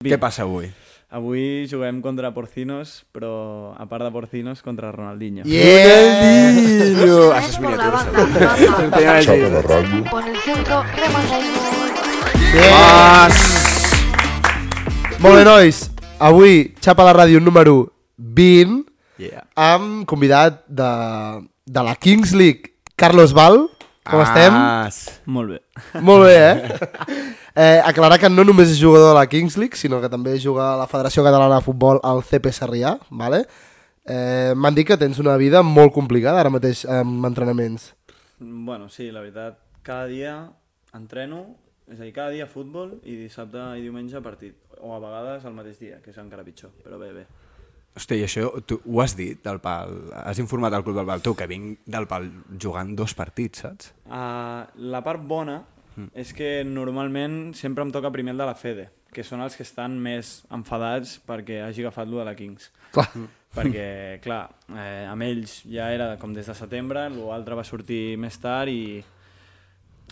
Què passa avui? Avui juguem contra Porcinos, però a part de Porcinos, contra Ronaldinho. Ronaldinho! Això és Por la miniatura, banda, segur. Rafa. la radio. Por el centro, remata el Vas! Molt bé, nois. Avui, xapa la ràdio número 20, Yeah. amb convidat de, de la Kings League, Carlos Val. Ah. Com estem? Vas. Molt bé. Molt bé, eh? eh? Aclarar que no només és jugador de la Kings League, sinó que també juga a la Federació Catalana de Futbol al CP Sarrià, vale? Eh, M'han dit que tens una vida molt complicada ara mateix amb entrenaments. Bueno, sí, la veritat, cada dia entreno, és a dir, cada dia futbol i dissabte i diumenge partit. O a vegades el mateix dia, que és encara pitjor, però bé, bé. Hòstia, i això tu, ho has dit del pal? Has informat al club del pal? Tu, que vinc del pal jugant dos partits, saps? Uh, la part bona Mm. és que normalment sempre em toca primer el de la Fede, que són els que estan més enfadats perquè hagi agafat lo de la Kings. Mm. Clar. perquè, clar, eh, amb ells ja era com des de setembre, l'altre va sortir més tard i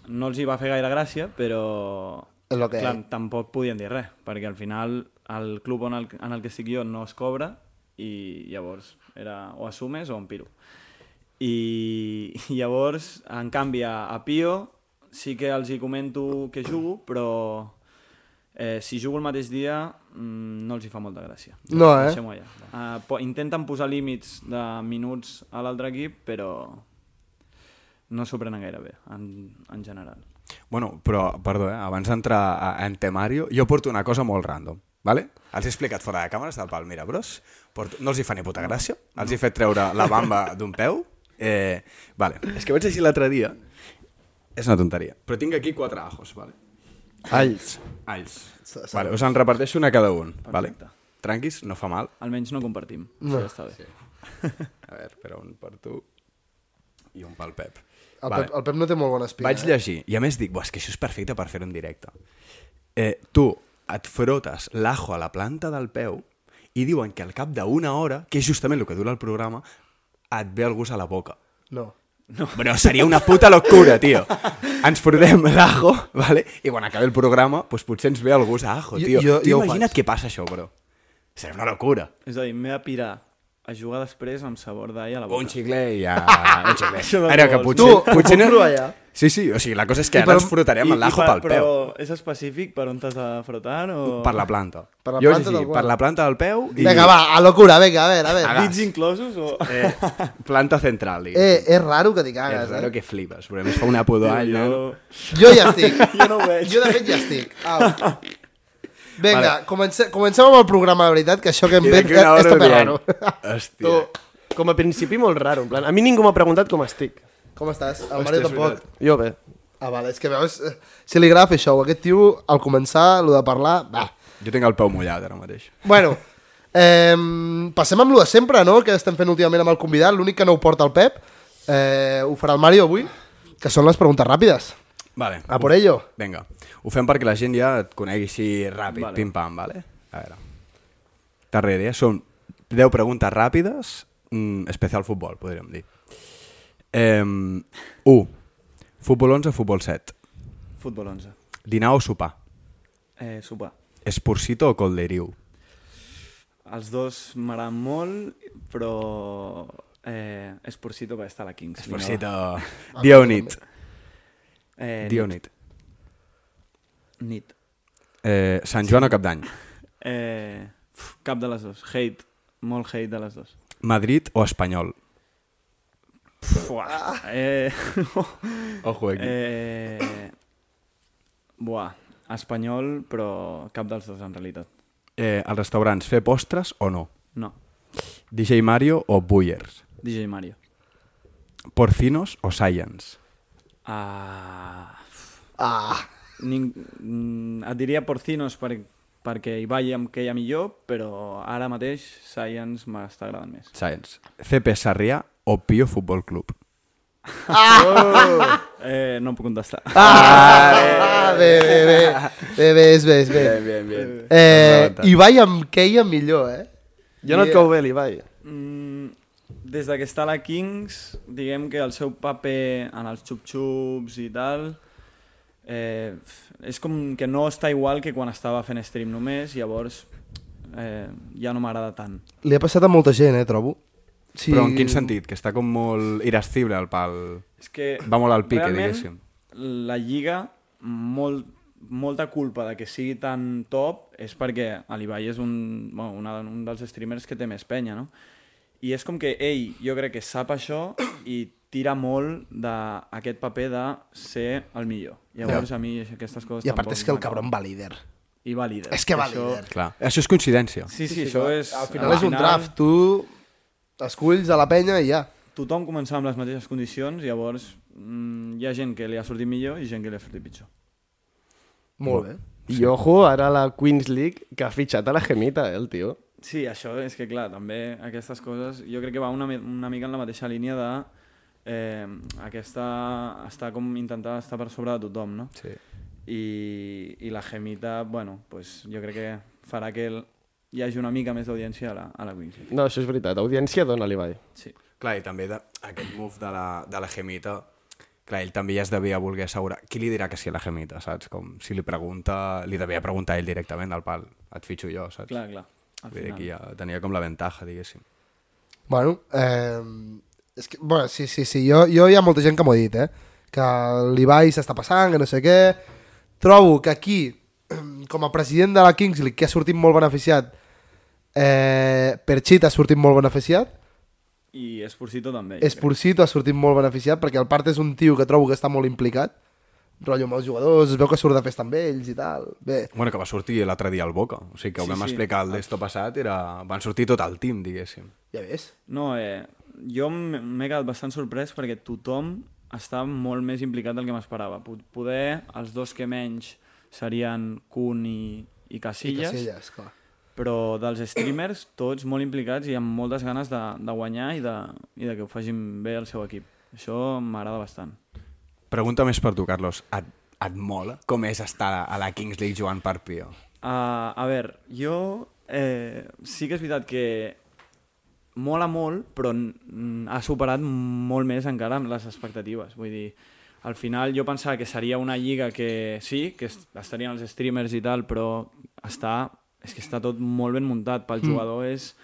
no els hi va fer gaire gràcia, però És lo que- clar, tampoc podien dir res, perquè al final el club on el, en el que estic jo no es cobra i llavors era o assumes o em piro. I llavors, en canvi, a, a Pio sí que els hi comento que jugo, però eh, si jugo el mateix dia mm, no els hi fa molta gràcia. No, eh? Deixem-ho allà. Uh, po intenten posar límits de minuts a l'altre equip, però no s'ho prenen gaire bé, en, en general. Bueno, però, perdó, eh? abans d'entrar a- en temario, jo porto una cosa molt random, vale? Els he explicat fora de càmeres del Pal Mira Bros. Porto, no els hi fa ni puta gràcia. Els he fet treure la bamba d'un peu. Eh, vale. És que vaig llegir l'altre dia. És una tonteria. Però tinc aquí quatre ajos, vale? Alls. Alls. Vale, us en reparteixo una cada un, vale? Tranquis, no fa mal. Almenys no compartim, no. això està bé. Sí. A veure, però un per tu i un pel Pep. El, vale. Pep, el Pep eh? no té molt bona espina. Vaig llegir, i a més dic, "Buah, és que això és perfecte per fer-ho en directe. Eh, tu et frotes l'ajo a la planta del peu i diuen que al cap d'una hora, que és justament el que dura el programa, et ve el gust a la boca. Eh? No. No. Però seria una puta locura, tio. Ens fotem l'ajo, vale? i quan acabi el programa, doncs potser ens ve el gust a ajo, Jo- tio. jo- tu jo ho imagina't faig. què passa això, bro. Seria una locura. És a dir, m'he de pirar a jugar després amb sabor d'all a la boca. Un xiclet i ja... Un xiclet. Això no Ara que vols. potser... Tu, potser ho puc provar ja? Sí, sí, o sigui, la cosa és que I ara per- ens frotarem l'ajo pel peu. Però és específic per on t'has de frotar? O... Per la planta. Per la jo planta he llegit del per qual. la planta del peu i... Vinga, va, a locura, vinga, a veure, a veure. Aga. Dits inclosos? O... Eh, planta central. I... Eh, és raro que t'hi cagues, és raro eh? que flipes, però a més fa una pudor al nen. jo... Jo ja estic. jo no ho veig. Jo de fet ja estic. Au. Vinga, vale. comencem, comencem amb el programa, la veritat, que això que hem I fet d'aquí una és hora també dient, eh, raro. Hòstia. Tu, com a principi molt raro, en plan, a mi ningú m'ha preguntat com estic. Com estàs? El Mario és tampoc. veritat. Jo bé. Ah, vale, és que veus... eh, Si li agrada fer això, aquest tio, al començar, lo de parlar... Va. Jo tinc el peu mullat ara mateix. Bueno, ehm, passem amb lo de sempre, no?, que estem fent últimament amb el convidat. L'únic que no ho porta el Pep, eh, ho farà el Mario avui, que són les preguntes ràpides. Vale. A por ello. Vinga, ho fem perquè la gent ja et conegui així ràpid, vale. pim-pam, vale? A veure. Darrere, eh? Són 10 preguntes ràpides, mm, especial futbol, podríem dir. Eh, 1. Futbol 11, futbol 7. Futbol 11. Dinar o sopar? Eh, sopar. Esporcito o colderiu? Els dos m'agraden molt, però eh, Esporcito va estar a la Kings. Vinga, va. Esporcito. Dia o nit? Eh, Dia o nit. Nit. Eh, Sant Joan o Cap d'Any? Eh, uf, cap de les dues. Hate. Molt hate de les dues. Madrid o Espanyol? Buah. Eh, Ojo aquí. Eh, eh, buah. Espanyol, però cap dels dos, en realitat. eh, als restaurants, fer postres o no? No. DJ Mario o Bullers? DJ Mario. Porcinos o Science? Ah, Ah, ning... mm, et diria porcinos per, perquè hi vaig amb que hi ha millor, però ara mateix Science m'està agradant més. Science. CP Sarrià o Pio Futbol Club? Eh, no puc contestar. ah, bé, bé, bé. Bé, bé, és bé, és bé. Bien, bien. Eh, Ibai em queia millor, eh? Jo no et cau bé, l'Ibai. Mm, des de que està a la Kings, diguem que el seu paper en els xup-xups i tal eh, f- és com que no està igual que quan estava fent stream només, llavors eh, ja no m'agrada tant. Li ha passat a molta gent, eh, trobo. Sí, Però en quin sentit? Que està com molt irascible el pal. És que Va molt al pique, realment, diguéssim. La Lliga, molt, molta culpa de que sigui tan top és perquè l'Ibai és un, bueno, una, un dels streamers que té més penya, no? I és com que ell, jo crec que sap això i tira molt d'aquest paper de ser el millor. Llavors, a mi aquestes coses I a part és que el m'agraden. cabron va líder. I va líder. És que va Això- líder. Clar. Això és coincidència. Sí, sí, això és... Al final és un draft, tu esculls a la penya i ja. Tothom començava amb les mateixes condicions, llavors mm, hi ha gent que li ha sortit millor i gent que li ha sortit pitjor. Molt bé. I ojo, ara la Queens League, que ha fitxat a la gemita, eh, el tio. Sí, això és que, clar, també aquestes coses... Jo crec que va una, mi- una mica en la mateixa línia de... Eh, aquesta... Està com intentar estar per sobre de tothom, no? Sí. I, i la gemita, bueno, pues, jo crec que farà que el, hi hagi una mica més d'audiència a la, a la Queens League. No, això és veritat. Audiència dona l'Ibai. Sí. Clar, i també de, aquest move de la, de la gemita, clar, ell també ja es devia voler assegurar. Qui li dirà que sí a la gemita, saps? Com si li pregunta, li devia preguntar ell directament al pal. Et fitxo jo, saps? Clar, clar. Al Vull dir, final. aquí ja tenia com la ventaja, diguéssim. Bueno, eh, és que, bueno, sí, sí, sí, jo, jo hi ha molta gent que m'ho ha dit, eh? Que l'Ibai s'està passant, que no sé què... Trobo que aquí, com a president de la Kings League, que ha sortit molt beneficiat, eh, Perchit ha sortit molt beneficiat, I Esposito també. jo crec. Esporcito ha sortit molt beneficiat, perquè el part és un tio que trobo que està molt implicat, rotllo amb els jugadors, es veu que surt de festa amb ells i tal. Bé, Bueno, que va sortir l'altre dia al Boca. O sigui, que ho sí, Sí, vam sí. sí. explicar el d'esto passat, era... van sortir tot el team, diguéssim. ja ves. No, eh, jo m- m'he quedat bastant sorprès perquè tothom està molt més implicat del que m'esperava. Po- Poder, els dos que menys serien Kun i, i Casillas, I Casillas, clar. però dels streamers tots molt implicats i amb moltes ganes de, de guanyar i de, i de que ho facin bé el seu equip. Això m'agrada bastant. Pregunta més per tu, Carlos. Et, et mola com és estar a la Kings League jugant per Pio? Uh, a veure, jo eh, sí que és veritat que mola molt, però mm, ha superat molt més encara amb les expectatives. Vull dir, al final jo pensava que seria una lliga que sí, que es- estarien els streamers i tal, però està, és que està tot molt ben muntat. Pel jugador és...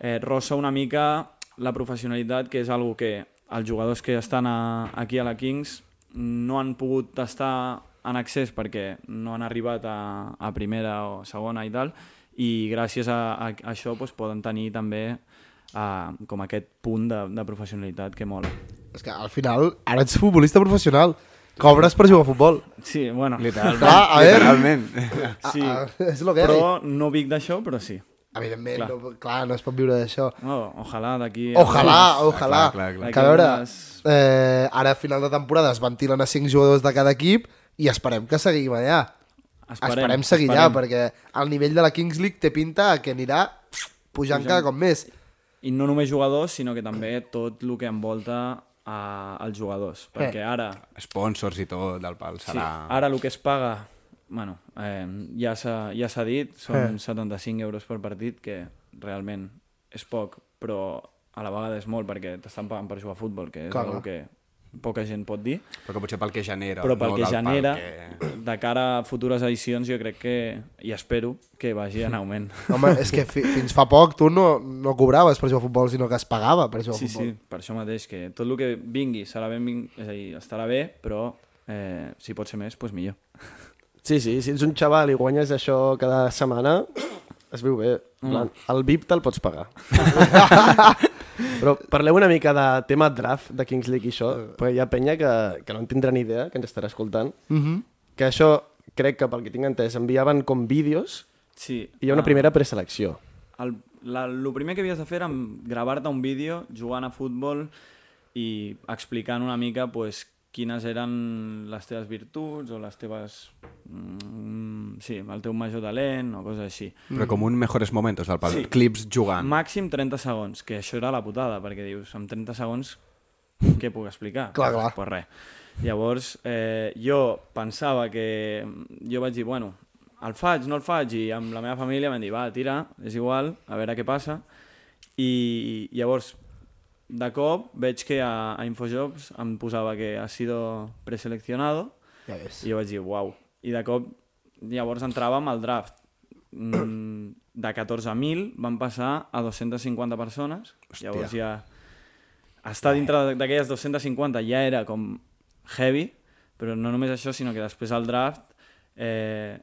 Eh, rossa una mica la professionalitat, que és algo que els jugadors que estan a, aquí a la Kings no han pogut estar en accés perquè no han arribat a, a primera o segona i tal, i gràcies a, a, a això doncs, poden tenir també a, com aquest punt de, de professionalitat que mola. És que al final, ara ets futbolista professional, cobres per jugar a futbol. Sí, bueno, Clar, a veure, Literalment. sí, Ah, ah, és lo que però no vic d'això, però sí. Evidentment, Clar. clar. No, clar, no es pot viure d'això. Oh, ojalà d'aquí... Ojalà, ojalà. clar, clar, clar. Que a veure, Unes- eh, ara a final de temporada es ventilen a 5 jugadors de cada equip i esperem que seguim allà. Esperem, esperem seguir allà, esperem. perquè el nivell de la Kings League té pinta que anirà pujant cada cop més. I no només jugadors, sinó que també tot el que envolta a, els jugadors. Eh. Perquè ara, Sponsors i tot del pal. sí, Serà... ara el que es paga, bueno, eh, ja s'ha ja s'ha dit, Eh. són 75 euros per partit, que realment és poc, però a la vegada és molt, perquè t'estan pagant per jugar a futbol, que és Clar, una clar. que poca gent pot dir, Però que potser pel que genera. però pel no que del genera, Pal, que... de cara a futures edicions, jo crec que, i espero, que vagi en augment. Home, és que fi, fins fa poc tu no, no cobraves per jugar a futbol, sinó que es pagava per jugar a Sí, futbol. sí, per això mateix, que tot el que vingui serà ben ving... és a dir, estarà bé, però eh, si pot ser més, doncs millor. Sí, sí, si ets un xaval i guanyes això cada setmana, es viu bé. En Plan, el VIP te'l pots pagar. Però parleu una mica de tema draft de Kings League i això, perquè hi ha penya que, que no en tindrà ni idea, que ens estarà escoltant, que això, crec que pel que tinc entès, enviaven com vídeos Sí. i hi ha una primera preselecció. El, la, el primer que havies de fer era gravar-te un vídeo jugant a futbol i explicant una mica pues, quines eren les teves virtuts o les teves... Mm, sí, el teu major talent o coses així. Però com un mejores momentos del pal. Mm. Sí. Sí. Clips jugant. Màxim 30 segons, que això era la putada, perquè dius, amb 30 segons què puc explicar? Clar, clar. Pues res. Llavors, eh, jo pensava que... Jo vaig dir, bueno, el faig, no el faig, i amb la meva família van dir, va, tira, és igual, a veure què passa. I llavors, de cop, veig que a, a Infojobs em posava que ha sido preseleccionado Ja ves. I jo vaig dir, uau. I de cop, llavors entràvem al draft. Mm, De 14.000 van passar a 250 persones. Hòstia. Llavors ja... Estar dintre d'aquelles 250 ja era com heavy, però no només això, sinó que després al draft eh,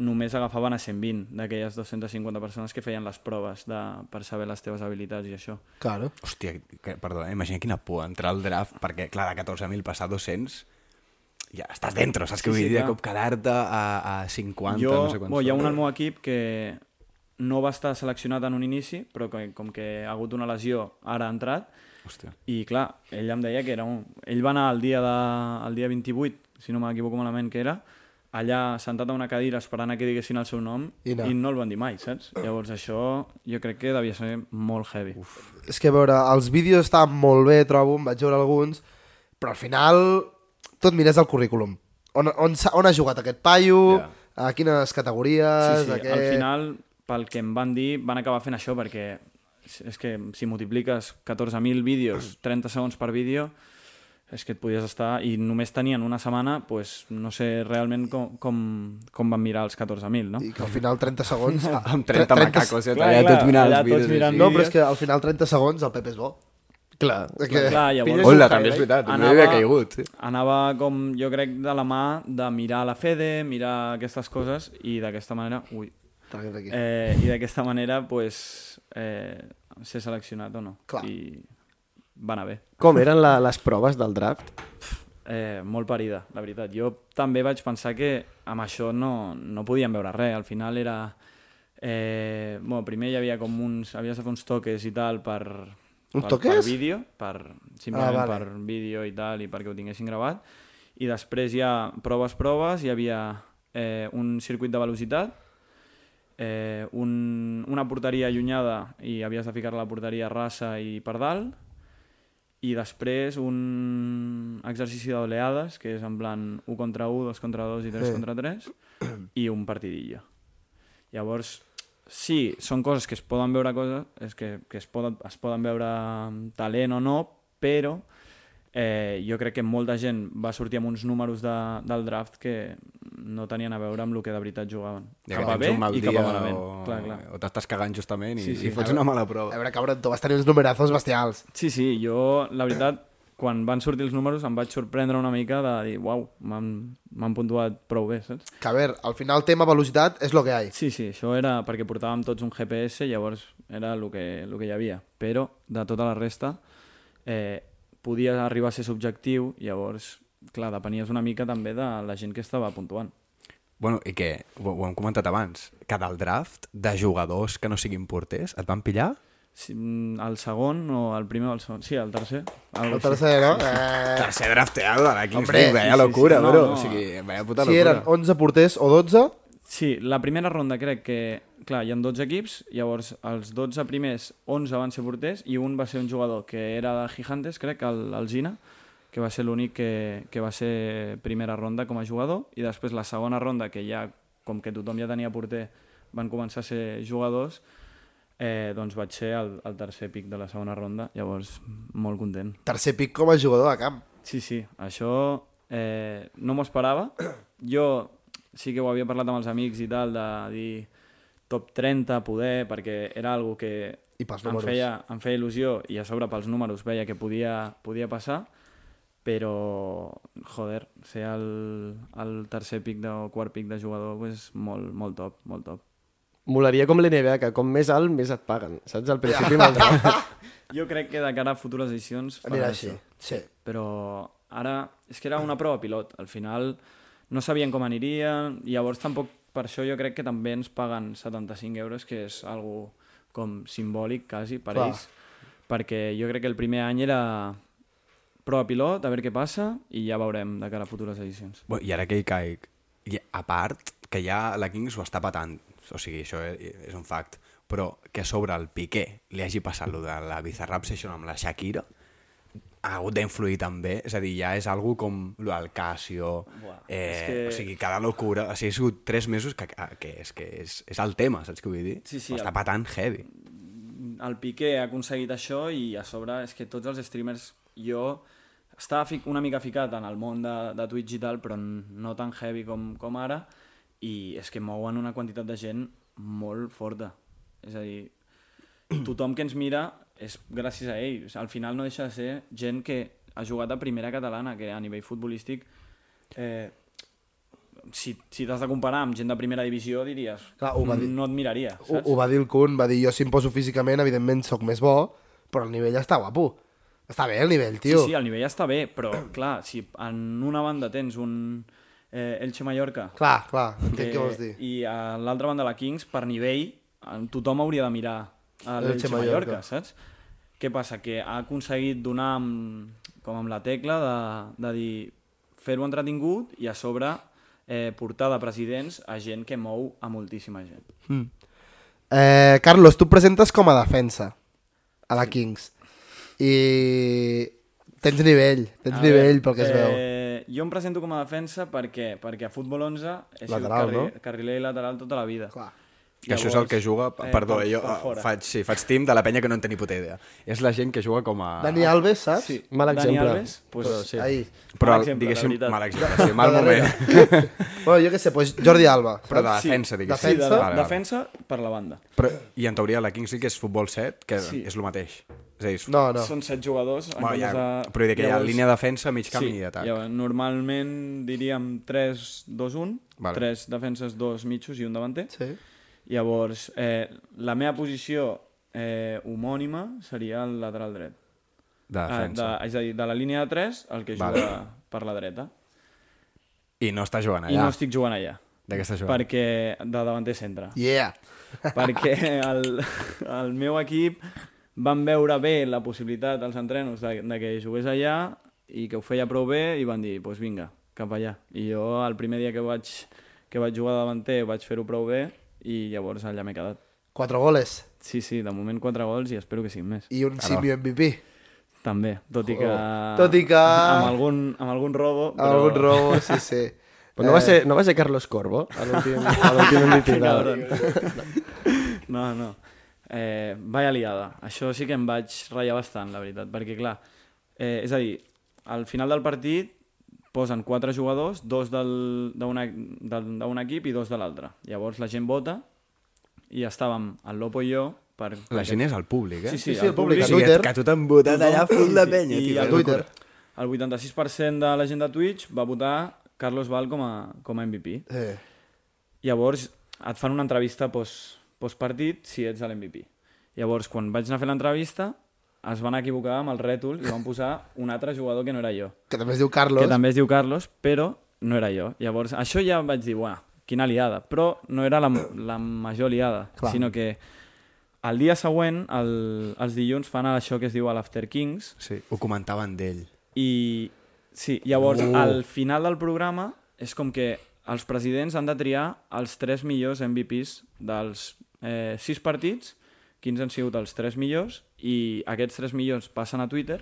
només agafaven a 120 d'aquelles 250 persones que feien les proves de, per saber les teves habilitats i això. Claro. Hòstia, que, perdó, eh? imagina quina por entrar al draft, perquè, clar, de 14.000 passar a 200, ja estàs dentro, saps què Sí, vull sí, dir? De clar. cop quedar-te a, a 50, jo, no sé quants. Bo, hi ha un al són. meu equip que no va estar seleccionat en un inici, però que, com que ha hagut una lesió, ara ha entrat. Hòstia. I clar, ell em deia que era un... Ell va anar el dia, de... el dia 28, si no m'equivoco malament que era, allà sentat a una cadira esperant a que diguessin el seu nom I i no. no, I no el van dir mai, saps? Llavors això jo crec que devia ser molt heavy. Uf. És que, a veure, els vídeos estaven molt bé, trobo, en vaig veure alguns, però al final tot mires el currículum. On, on, s'ha- on ha jugat aquest paio, Ja. a quines categories... Sí, sí, a què... al final, pel que em van dir, van acabar fent això perquè és que si multipliques 14.000 vídeos, 30 segons per vídeo, és que et podies estar... I només tenien una setmana, pues, no sé realment com, com, com van mirar els 14.000, no? I que al final 30 segons... Amb 30, 30 macacos, ja, Clar, allà clar, tots mirant allà els tots vídeos. mirant així. No, però és que al final 30 segons el Pep és bo. Clar. Que... Clar, llavors... Hola, també és veritat, no hi havia caigut. sí. Anava com, jo crec, de la mà de mirar la Fede, mirar aquestes coses, i d'aquesta manera... Ui, Traguem d'aquí. Eh, I d'aquesta manera, pues, eh, ser seleccionat o no. Clar. I va anar bé. Com eren la, les proves del draft? Eh, molt parida, la veritat. Jo també vaig pensar que amb això no, no podíem veure res. Al final era... Eh, bueno, primer hi havia com uns... Havies de fer uns toques i tal per... Uns per, toques? Per vídeo, per, simplement Ah, ah, vale. vale. per vídeo i tal, i perquè ho tinguessin gravat. I després hi ha proves, proves, hi havia eh, un circuit de velocitat, eh, un, una porteria allunyada i havies de ficar la porteria rasa i per dalt i després un exercici d'oleades que és en plan 1 contra 1, 2 contra 2 i 3 contra 3 i un partidillo llavors sí, són coses que es poden veure coses és que, que es, poden, es poden veure amb talent o no, però eh, jo crec que molta gent va sortir amb uns números de, del draft que no tenien a veure amb el que de veritat jugaven Ja que cap a tens bé un mal i cap dia a malament o- clar, clar. O t'estàs cagant justament i, Sí, sí. i fots una mala prova. A veure, cabron, tu vas tenir uns numerazos bestials. Sí, sí, jo, la veritat, quan van sortir els números em vaig sorprendre una mica de dir, uau, m'han m'han puntuat prou bé, saps? Que a veure, al final tema velocitat és lo que hi ha. Sí, sí, això era perquè portàvem tots un GPS, llavors era el que, el que hi havia. Però de tota la resta eh, podia arribar a ser subjectiu, llavors, clar, depenies una mica també de la gent que estava puntuant. Bueno, i que, ho, ho hem comentat abans, que del draft de jugadors que no siguin porters et van pillar? Si, mm, el segon o el primer o el segon? Sí, el tercer. algo El així. tercer, no? Eh... Tercer drafteado de la Kings Hombre, League, vaya sí, sí, locura, sí, no, bro. no. O sigui, vaya puta Si locura. eren 11 porters o 12, Sí, la primera ronda crec que... Clar, hi ha 12 equips, llavors els 12 primers, 11 van ser porters i un va ser un jugador que era de Gigantes, crec, el, el Gina, que va ser l'únic que, que va ser primera ronda com a jugador i després la segona ronda, que ja, com que tothom ja tenia porter, van començar a ser jugadors, eh, doncs vaig ser el, el tercer pic de la segona ronda, llavors molt content. tercer pic com a jugador de camp. Sí, sí, això eh, no m'ho esperava. Jo sí que ho havia parlat amb els amics i tal, de dir top 30, poder, perquè era algo que I pels em números. feia, em feia il·lusió i a sobre pels números veia que podia, podia passar, però, joder, ser el, el tercer pic de, o quart pic de jugador és pues, molt, molt top, molt top. Molaria com l'NBA, que com més alt, més et paguen. Saps? Al principi amb el draft. Jo crec que de cara a futures edicions faran Anirà això. així. Sí. però ara és que era una prova pilot, al final no sabien com aniria, llavors tampoc per això jo crec que també ens paguen 75 euros, que és algo com simbòlic quasi per Clar. ells, perquè jo crec que el primer any era prova pilot, a veure què passa, i ja veurem de cara a futures edicions. Bueno, I ara que hi caic, i a part, que ja la Kings ho està patant, o sigui, això és, és un fact, però que a sobre el Piqué li hagi passat lo de la Bizarrap Session amb la Shakira, ha hagut d'influir també, és a dir, ja és algo com lo del Casio, Buah, és eh, que... que- o sigui, cada locura, o sigui, ha sigut tres mesos que, ah, que, és, que és, és el tema, saps què vull dir? Sí, sí, Ho està el- patant heavy. el Piqué ha aconseguit això i a sobre és que tots els streamers jo estava fic, una mica ficat en el món de, de Twitch i tal, però no tan heavy com, com ara, i és que mouen una quantitat de gent molt forta. És a dir, tothom que ens mira és gràcies a ell. O sigui, al final no deixa de ser gent que ha jugat a primera catalana, que a nivell futbolístic... Eh, si si t'has de comparar amb gent de primera divisió, diries... Clar, ho va dir- No et miraria, Ho, saps? ho va dir el Kun, va dir, jo si em poso físicament, evidentment sóc més bo, però el nivell està guapo. Està bé el nivell, tio. Sí, sí, el nivell està bé, però clar, si en una banda tens un eh, Elche Mallorca Clar, clar, entenc què vols dir. Eh, i a l'altra banda la Kings, per nivell, en- tothom hauria de mirar a l'Elche Elche Mallorca, Mallorca. saps? Què passa? Que ha aconseguit donar amb, com amb la tecla de, de dir fer-ho entretingut i a sobre eh, portar de presidents a gent que mou a moltíssima gent. Eh, Carlos, tu et presentes com a defensa a la Kings i tens nivell, tens A nivell veure, pel que es veu. Eh, jo em presento com a defensa perquè perquè a futbol 11 he sigut Lateral, carri- no? carriler i lateral tota la vida. Clar. Que això és el que juga... eh, Perdó, per- jo per eh, fora. faig, sí, faig team de la penya que no en té ni puta idea. És la gent que juga com a... Dani Alves, saps? Sí, Mal Dani exemple. Alves, pues, Però sí. Ahí. Però, Mal exemple, diguéssim, la veritat. mal exemple, sí, mal La moment. darrera. bueno, jo què sé, doncs Jordi Alba. Però de saps? defensa, diguéssim. Sí, de, Defensa? Vale, vale. defensa per la banda. Però, I en teoria la Kings League és futbol 7, que Sí. és el mateix. És a dir, és... No, no. Són set jugadors. en Bueno, hi ha, comptes de- però vull dir que hi ha llavors- línia de defensa, mig camp sí, i atac. Llavors, normalment diríem 3-2-1, Vale. vale. 3 defenses, 2 mitjos i un davanter. Sí. Llavors, eh, la meva posició eh, homònima seria el lateral dret. De Ah, defensa. de, és a dir, de la línia de 3, el que juga Vale. per la dreta. I no està jugant I allà. no estic jugant allà. De què està jugant? Perquè de davanter centre. Yeah. perquè el, el meu equip van veure bé la possibilitat als entrenos de, de que jugués allà i que ho feia prou bé i van dir, doncs pues vinga, cap allà. I jo el primer dia que vaig, que vaig jugar davanter vaig fer-ho prou bé i llavors allà m'he quedat. Quatre goles Sí, sí, de moment quatre gols i espero que cinc més. i un simio MVP. També, tot i que... Oh. Tot i que- Amb algun, amb algun robo. Però... Algun robo, sí, sí. Però no va ser, no va ser Carlos Corbo, a l'últim a l'últim MVP. Que de- cabron. No, no. Eh, vaya liada. Això sí que em vaig ratllar bastant, la veritat, perquè clar, eh, és a dir, al final del partit posen quatre jugadors, dos del- d'una- del- d'un equip i dos de l'altre. Llavors la gent vota i estàvem el Lopo i jo per... La gent és al públic, eh? Sí, sí, Sí, sí, el el públic, públic. O a sigui, Twitter. que tu t'han votat allà full de penya, I tio. a el- Twitter. El 86% de la gent de Twitch va votar Carlos Val com a, com a MVP. Sí. Llavors, et fan una entrevista post, postpartit si ets a l'MVP. Llavors, quan vaig anar a fer l'entrevista, es van equivocar amb el rètol i van posar un altre jugador que no era jo. Que també es diu Carlos. Que també es diu Carlos, però no era jo. Llavors, això ja vaig dir, buah, quina liada. Però no era la, la major liada, Clar. Clar. sinó que el dia següent, el, els dilluns, fan això que es diu a l'After Kings, Sí, ho comentaven d'ell. i sí, llavors Oh. uh. al final del programa és com que els presidents han de triar els 3 millors MVPs dels eh, 6 partits, quins han sigut els 3 millors, i aquests 3 millors passen a Twitter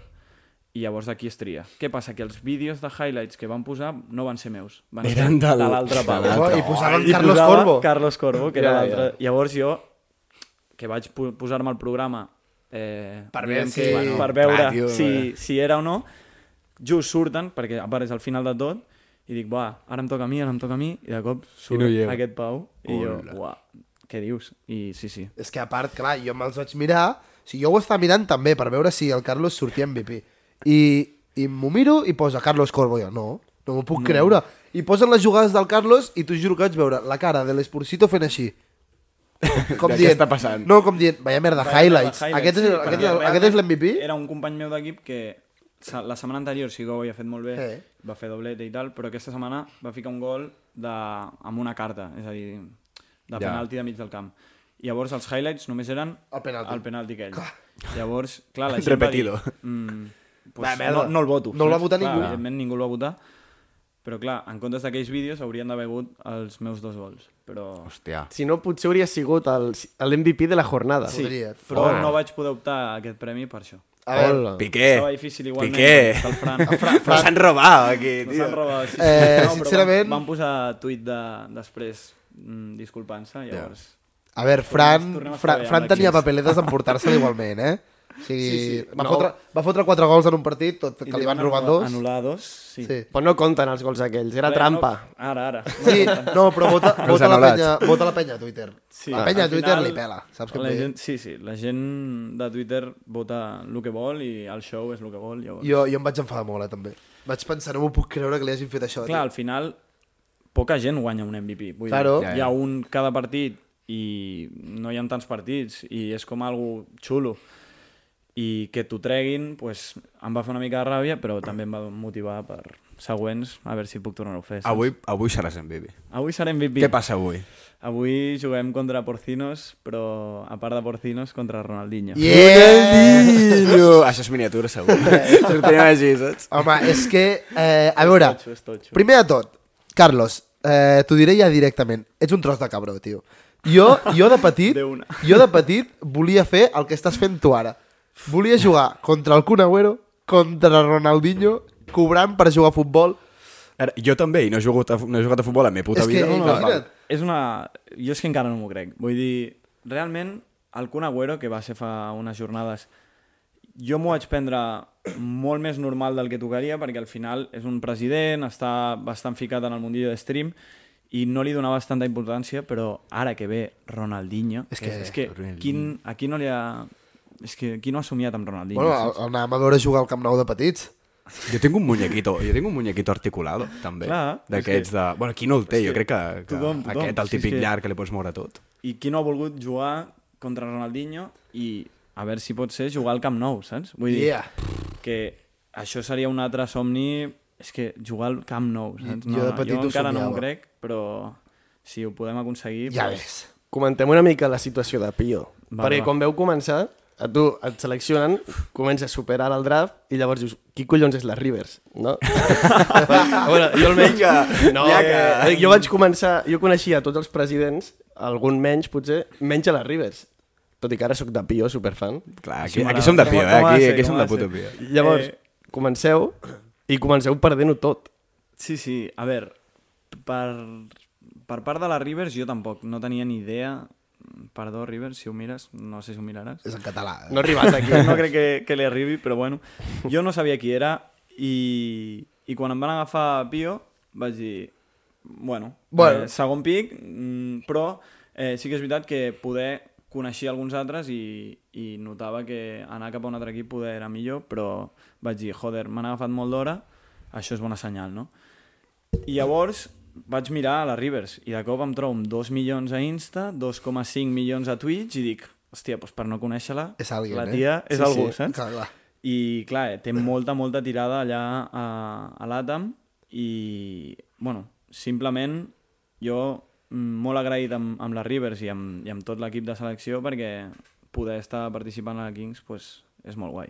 i llavors d'aquí es tria. Què passa? Que els vídeos de highlights que van posar no van ser meus. Van Eren ser del- de l'altre de pau. l'altre. Oh, I posaven I Carlos posava Corbo. Carlos Corbo, que era Ja, ja. l'altre. Llavors jo, que vaig po- posar-me al programa eh, Per diguem veure que- si- bueno, per veure clar, tio, si, si era o no, just surten, perquè apareix al final de tot, i dic, va, ara em toca a mi, ara em toca a mi, i de cop surt no hi era. aquest Pau, i jo, Hola. uah, què dius? I sí, sí. És que a part, clar, jo me'ls vaig mirar, o sigui, jo ho estava mirant també per veure si el Carlos sortia MVP. I, i m'ho miro i posa Carlos Corbo, jo, no, no m'ho puc no. creure. I posen les jugades del Carlos i t'ho juro que vaig veure la cara de l'Esporcito fent així. Com De què dient, està passant? No, com dient, vaya merda, highlights. Highlights, Aquest és, sí, aquest, perquè és- realment aquest és l'MVP? Era un company meu d'equip que se- la setmana anterior sí que ho havia fet molt bé, Eh. va fer doblete i tal, però aquesta setmana va ficar un gol de, amb una carta, és a dir, de Ja. penalti de mig del camp. I llavors els highlights només eren El penalti. el penalti aquell. Llavors, clar, la El gent repetido. va dir... Mm, Va, pues, merda. no, no el voto. No el va saps? votar clar, ningú. Evidentment ningú el va votar. Però clar, en comptes d'aquells vídeos haurien d'haver hagut els meus dos gols. Però... Hòstia. Si no, potser hauria sigut el- l'MVP de la jornada. Sí, Podria. però Hola. no vach poder optar a aquest premi per això. A veure, Hola. Piqué. Estava difícil igualment. perquè Piqué. El Fran. El Fran. Nos han robat aquí, Nos tio. han robat. Sí, sí. Eh, però sincerament- Van, van posar tuit de, després mm, disculpant-se, llavors... a veure Fran, Tornem a Fran, treballar Fran amb la tenia Kings. papeletes d'emportar-se igualment, eh? O sigui, sí, sí. Va, no. No. fotre, va fotre quatre gols en un partit, tot que li van robar anul·lar- dos. Anul·lar dos, sí. Sí. Però no compten els gols aquells, era Res, trampa. No, ara, ara. Sí, no, però vota, Els vota, la anul·lats. penya, vota la penya a Twitter. Sí, la penya a al Twitter final, li pela, saps què la vull dir? gent, Sí, sí, la gent de Twitter vota el que vol i el show és el que vol. Llavors. Jo, jo em vaig enfadar molt, eh, també. Vaig pensar, no m'ho puc creure que li hagin fet això. Clar, tio. al final, poca gent guanya un MVP. Vull Claro. dir, hi ha un cada partit i no hi ha tants partits i és com algo xulo i que t'ho treguin pues, em va fer una mica de ràbia però també em va motivar per següents a veure si puc tornar-ho a fer saps? Avui, avui seràs MVP. avui seré MVP Què passa avui? avui juguem contra Porcinos però a part de Porcinos contra Ronaldinho Yeah! Ronaldinho! Uh, Això és miniatura, segur. Sortirem així, saps? Home, és que... Eh, a veure, totxo, és totxo. primer de tot, Carlos, eh, t'ho diré ja directament. Ets un tros de cabró, tio. Jo, jo de petit, De una. jo de petit volia fer el que estàs fent tu ara. Volia jugar contra el Kun Agüero, contra Ronaldinho, cobrant per jugar a futbol. Ara, jo també, i no he jugat a, no he jugat a futbol a la meva puta És que, vida. Doncs no, no, imagina't, És una... Jo és que encara no m'ho crec. Vull dir, realment, el Kun Agüero, que va ser fa unes jornades, jo m'ho vaig prendre molt més normal del que tocaria, perquè al final és un president, està bastant ficat en el mundillo de stream, i no li donava tanta importància, però ara que ve Ronaldinho... És que- És que quin, a qui no li ha... És que qui no ha somiat amb Ronaldinho? Bueno, saps? el, el anàvem a veure jugar al Camp Nou de petits. Jo tinc un muñequito, jo tinc un muñequito articulado, també. Clar, és D'aquests que- de... Bueno, qui no el té? és Jo que crec que, que tothom, tothom, aquest, el si és típic que- llarg que li pots moure tot. i qui no ha volgut jugar contra Ronaldinho i a veure si pot ser jugar al Camp Nou, saps? Vull dir Yeah. que això seria un altre somni és que jugar al Camp Nou, saps? Jo de petit jo ho encara no somiava. ho crec, però si ho podem aconseguir... Ja doncs- ves. Comentem una mica la situació de Pio. Va, perquè va. quan veu començar, a tu et seleccionen, comença a superar el draft i llavors dius, qui collons és la Rivers? No? bueno, jo almenys... Vinga, no, eh, jo vaig començar... Jo coneixia tots els presidents, algun menys potser, menys a la Rivers. Tot i que ara sóc de Pio, superfan. Clar, aquí, Així aquí m'agrada. som de Com- pio, eh? com ha de Aquí, ser, aquí com som ha de de puta ser. pio. Llavors, eh... comenceu i comenceu perdent-ho tot. Sí, sí, a veure, per, per part de la Rivers jo tampoc no tenia ni idea... Perdó, Rivers, si ho mires, no sé si ho miraràs. És en català. eh? No arribes aquí. no crec que, que li arribi, però bueno. Jo no sabia qui era i, i quan em van agafar a Pio vaig dir, bueno, Bueno. Eh, segon pic, mm, però eh, sí que és veritat que poder coneixia alguns altres i, i notava que anar cap a un altre equip poder era millor, però vaig dir, joder, m'han agafat molt d'hora, això és bona senyal, no? I llavors vaig mirar a la Rivers i de cop em trobo amb 2 milions a Insta, 2,5 milions a Twitch i dic, hòstia, doncs per no conèixer-la, És alguien, la eh? tia és Sí, algú, sí. saps? Clar, clar. I clar, eh, té molta, molta tirada allà a, a l'Àtam i, bueno, simplement jo mm, molt agraït amb, amb la Rivers i amb, i amb tot l'equip de selecció perquè poder estar participant a la Kings pues, és molt guai.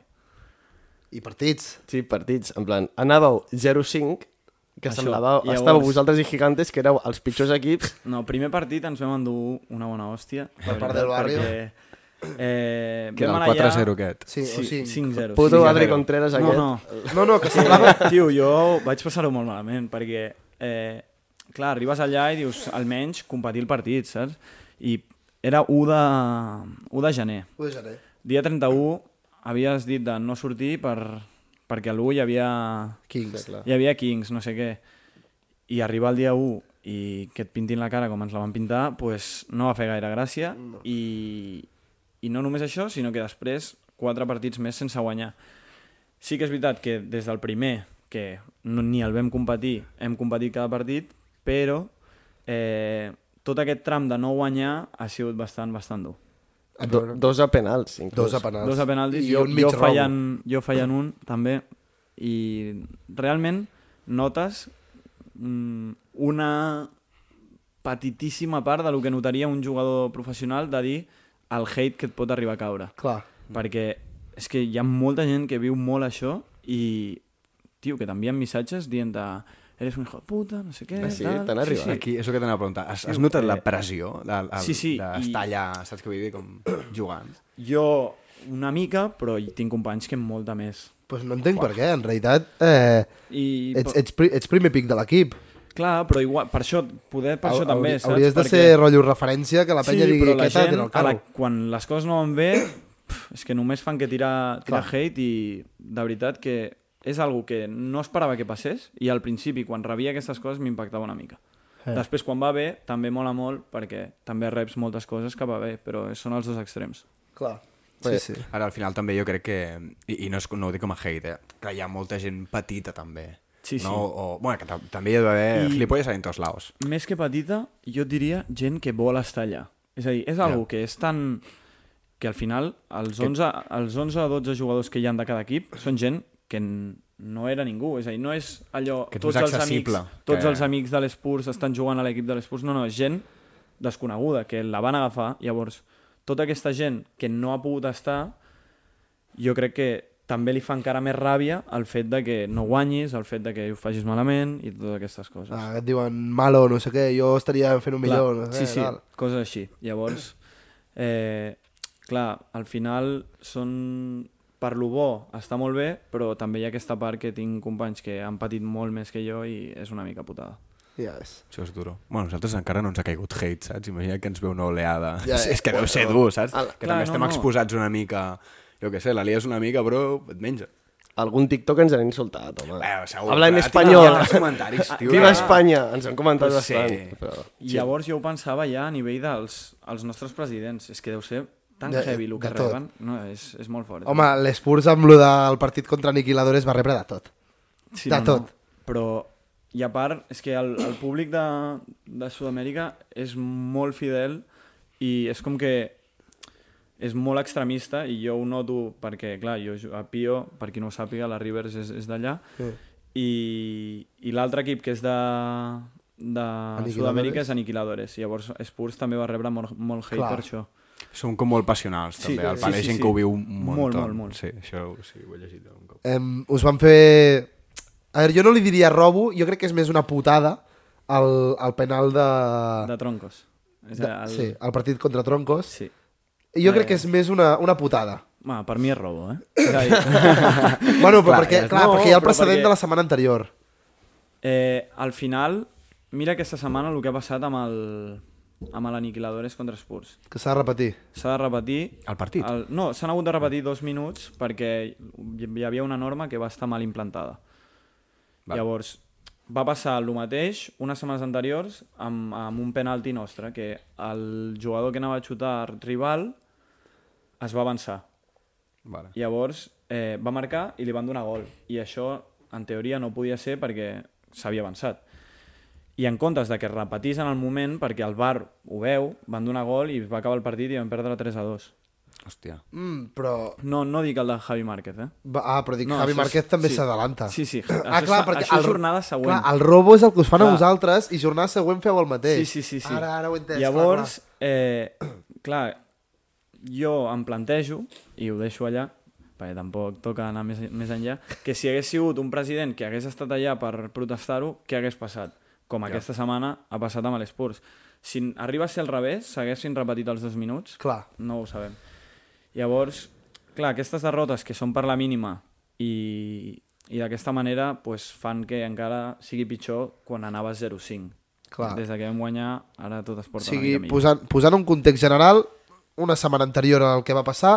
I partits. Sí, partits, en plan, anàveu 0-5, que Això, semblava... llavors- Estàveu vosaltres i Gigantes, que éreu els pitjors equips, No, primer partit ens vam endur una bona hòstia. la Per part veritat, del barrio. Perquè, eh, Que vam era el anar allà- 4-0 aquest. Sí, o Sí, sí. 5-0. Puto sí. Adri Contreras No, aquest. no, No, no, que semblava... Eh, Tio, jo vaig passar-ho molt malament, perquè, eh, clar, arribes allà i dius, almenys, competir el partit, saps? I era 1 de, 1 de gener. Ho deixaré. Dia 31 havies dit de no sortir per, perquè a l'1 hi havia, Kings. hi havia Kings, no sé què. I arribar el dia 1 i que et pintin la cara com ens la van pintar, pues no va fer gaire gràcia. No. I, I no només això, sinó que després quatre partits més sense guanyar. Sí que és veritat que des del primer, que no, ni el vam competir, hem competit cada partit, però eh, tot aquest tram de no guanyar ha sigut bastant, bastant dur. do, dos a penals, inclús. Dos a penals. Dos a penaltis, I jo, un mig jo, robo. fallant, jo fallant un, també. I realment notes mm, una petitíssima part de lo que notaria un jugador professional de dir el hate que et pot arribar a caure. Clar. Perquè és que hi ha molta gent que viu molt això i, tio, que t'envien missatges dient de eres un hijo de puta, no sé què, Ah, sí? tal. T'han arribat? Sí, sí. Aquí és el que t'anava a preguntar. Has, has notat la pressió del- el- Eh, Sí, sí, d'estar i- allà, saps que vull dir, com jugant? Jo una mica, però hi tinc companys que molta més. Pues no entenc per què, en realitat eh, I, ets, ets, pri, ets primer pic de l'equip. Clar, però igual, per això, poder per això Hau- també, hauri- saps? Hauries de Perquè- ser rotllo referència que la penya digui però que la tal, gent, tira el a la, carro. quan les coses no van bé, pf, és que només fan que tirar, tirar hate i de veritat que és algo que no esperava que passés i al principi quan rebia aquestes coses m'impactava una mica. Eh. Després quan va bé també mola molt perquè també reps moltes coses que va bé, però són els dos extrems. Clar. Sí, sí. Ara, al final, també jo crec que... I, i no, és, no ho dic com a hate, eh? Que hi ha molta gent petita, també. Sí, sí. No? O, bueno, que tam- també hi ha d'haver I... gilipolles en tots laos. Més que petita, jo et diria gent que vol estar allà. És a dir, és algo que és tan... que al final els 11, els 11 o 12 jugadors que hi han de cada equip són gent que n- no era ningú. És a dir, no és allò... Que tu tots és els amics, accessible, tots que- els amics de l'Espurs estan jugant a l'equip de l'Espurs. No, no, és gent desconeguda, que la van agafar. Llavors, tota aquesta gent que no ha pogut estar, jo crec que també li fa encara més ràbia el fet de que no guanyis, el fet de que ho facis malament i totes aquestes coses. Ah, que et diuen malo, no sé què, jo estaria fent un Clar, millor. No sé, sí, sí, Tal. coses així. Llavors, eh, clar, al final són... Per lo bo està molt bé, però també hi ha aquesta part que tinc companys que han patit molt més que jo i és una mica putada. Ja ves. Això és duro. Bueno, nosaltres encara no ens ha caigut hate, saps? Imagina que ens ve una oleada. Ja, Ja, és que deu ser però- dur, saps? Al- que Clar, també no, estem no. exposats una mica... Jo què sé, la lies una mica, però et menja. Algun TikTok ens han insultat, home. Bueno, segur, Habla en però, tio, espanyol. en els comentaris, tio. Viva Ah. Espanya! Ens han comentat Pues sí. bastant. Però... I llavors jo ho pensava ja a nivell dels els nostres presidents. És que deu ser tan De- de, heavy el de que tot. reben. No, és, és molt fort. Home, l'Espurs amb lo del partit contra Aniquilador es va rebre de tot. Sí, de no, tot. No. Però, i a part, és que el, el públic de, de Sud-amèrica és molt fidel i és com que és molt extremista i jo ho noto perquè, clar, jo ju- a Pio, per qui no ho sàpiga, la Rivers és, és d'allà Sí. i, i l'altre equip que és de, de Sud-amèrica és Aniquiladores. Llavors, Spurs també va rebre molt, molt hate Clar. per això. Són com molt passionals, Sí, també. Sí, el sí, pal sí, sí, sí, gent sí. que ho viu Molt, molt, molt, molt. Sí, això ho- sí, ho he llegit algun cop. Em, us van fer... A veure, jo no li diria robo, jo crec que és més una putada al, al penal de... De troncos. És de el- Sí, al partit contra Troncos. sí. Jo crec que és més una, una putada. Ma, per mi és robo, eh? És a dir, bueno, però Clar, perquè, ja- clar, no, perquè hi ha el però precedent perquè- de la setmana anterior. Eh, al final, mira aquesta setmana el que ha passat amb el amb l'Aniquiladores contra Spurs. Que s'ha de repetir. S'ha de repetir... El partit? El, no, s'han hagut de repetir dos minuts perquè hi hi havia una norma que va estar mal implantada. Val. Val. Llavors, va passar el mateix unes setmanes anteriors amb, amb un penalti nostre, que el jugador que anava a xutar rival es va avançar. Vale. Llavors eh, va marcar i li van donar gol. I això, en teoria, no podia ser perquè s'havia avançat. I en comptes de que es repetís en el moment, perquè el bar ho veu, van donar gol i va acabar el partit i van perdre 3 a 2. Hòstia. Mm, però... No, no dic el de Javi Márquez, eh? Va- Ah, però dic, No, no, Javi això és- Márquez també sí. s'adalanta. Sí, sí, Ah, això clar, és- perquè... això és jornada següent. Clar, el robo és el que us fan clar. Clar. a vosaltres i jornada següent feu el mateix. Sí, sí, sí. sí. Ara, ara ho he entès. Llavors, clar, clar. Eh, clar, jo em plantejo, i ho deixo allà, perquè tampoc toca anar més, més enllà, que si hagués sigut un president que hagués estat allà per protestar-ho, què hagués passat? Com ja. aquesta setmana ha passat amb l'Esports. Si arriba a ser al revés, s'haguessin repetit els dos minuts, Clar, clar. no ho sabem. Llavors, clar, aquestes derrotes que són per la mínima i, i d'aquesta manera pues, fan que encara sigui pitjor quan anava 0-5. Clar. Des de que vam guanyar, ara tot es O porta sigui, una mica millor. posant, posant un context general, una setmana anterior al que va passar,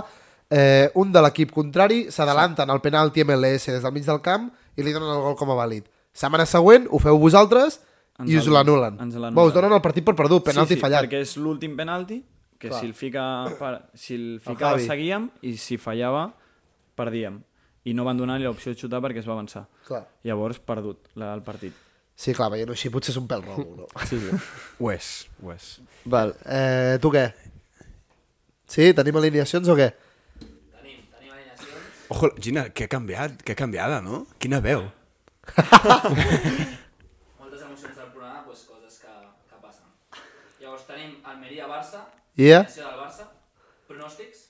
eh, un de l'equip contrari s'adalanta en el penalti MLS des del mig del camp i li donen el gol com a vàlid. Setmana següent ho feu vosaltres Ens i us el- l'anulen. ens l'anulen. Va, us donen el partit per perdut, penalti sí, sí, fallat. perquè és l'últim penalti, que Clar. si el, fica, per, si el ficava Javi. seguíem i si fallava perdíem. I no van donar-li l'opció de xutar perquè es va avançar. Clar. Llavors, perdut la, el partit. Sí, clar, veient-ho així potser és un pèl robo. No? Sí, sí. Ho és, ho és. Val. Eh, tu què? Sí, tenim alineacions o què? Ojo, Gina, que ha canviat, que ha canviada, no? Quina veu. moltes emocions del programa, doncs coses que, que passen. Llavors tenim Almeria-Barça, Yeah. yeah. del Barça, pronòstics,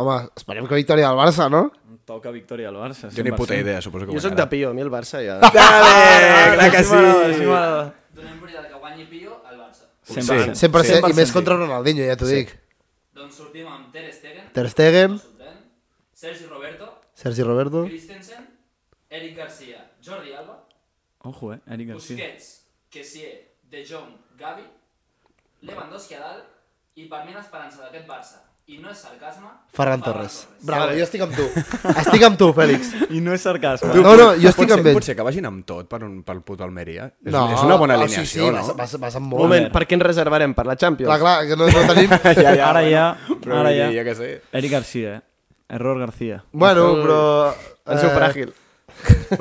Home, esperem que victòria del Barça, no? Toca victòria al Barça. Jo ni 100%. puta idea, suposo que Jo sóc de Pio, a mi el Barça ja... eh, Dale, clar que sí. donem prioritat que guanyi Pio al Barça. Sí. 100%, i més contra Ronaldinho, ja t'ho sí. dic. Doncs sortim amb Ter Stegen, Ter Stegen, sorprèn, Sergi Roberto, Sergi Roberto, Christensen, Eric Garcia, Jordi Alba, Ojo, eh? Eric Garcia. Busquets, Kessier, De Jong, Gavi, Lewandowski a dalt, I per mi l'esperança d'aquest Barça, i no és sarcasme, Ferran Torres. Bravo, jo estic amb tu. Estic amb tu, Fèlix. I no és sarcasme. No, no, jo estic pot amb ser, ell. pot ser que vagin amb tot per un, pel puto Almeria. És, no, és una bona oh, alineació, sí, sí, no? Vas, vas, vas amb Un molt. moment, per què ens reservarem? Per la Champions? Clar, clar, que no, no tenim... Ja, ja, ara ja, Però ara vull ja. dir, jo què sé. Eric Garcia, eh? Error Garcia. bueno, però... En Eh, seu fràgil.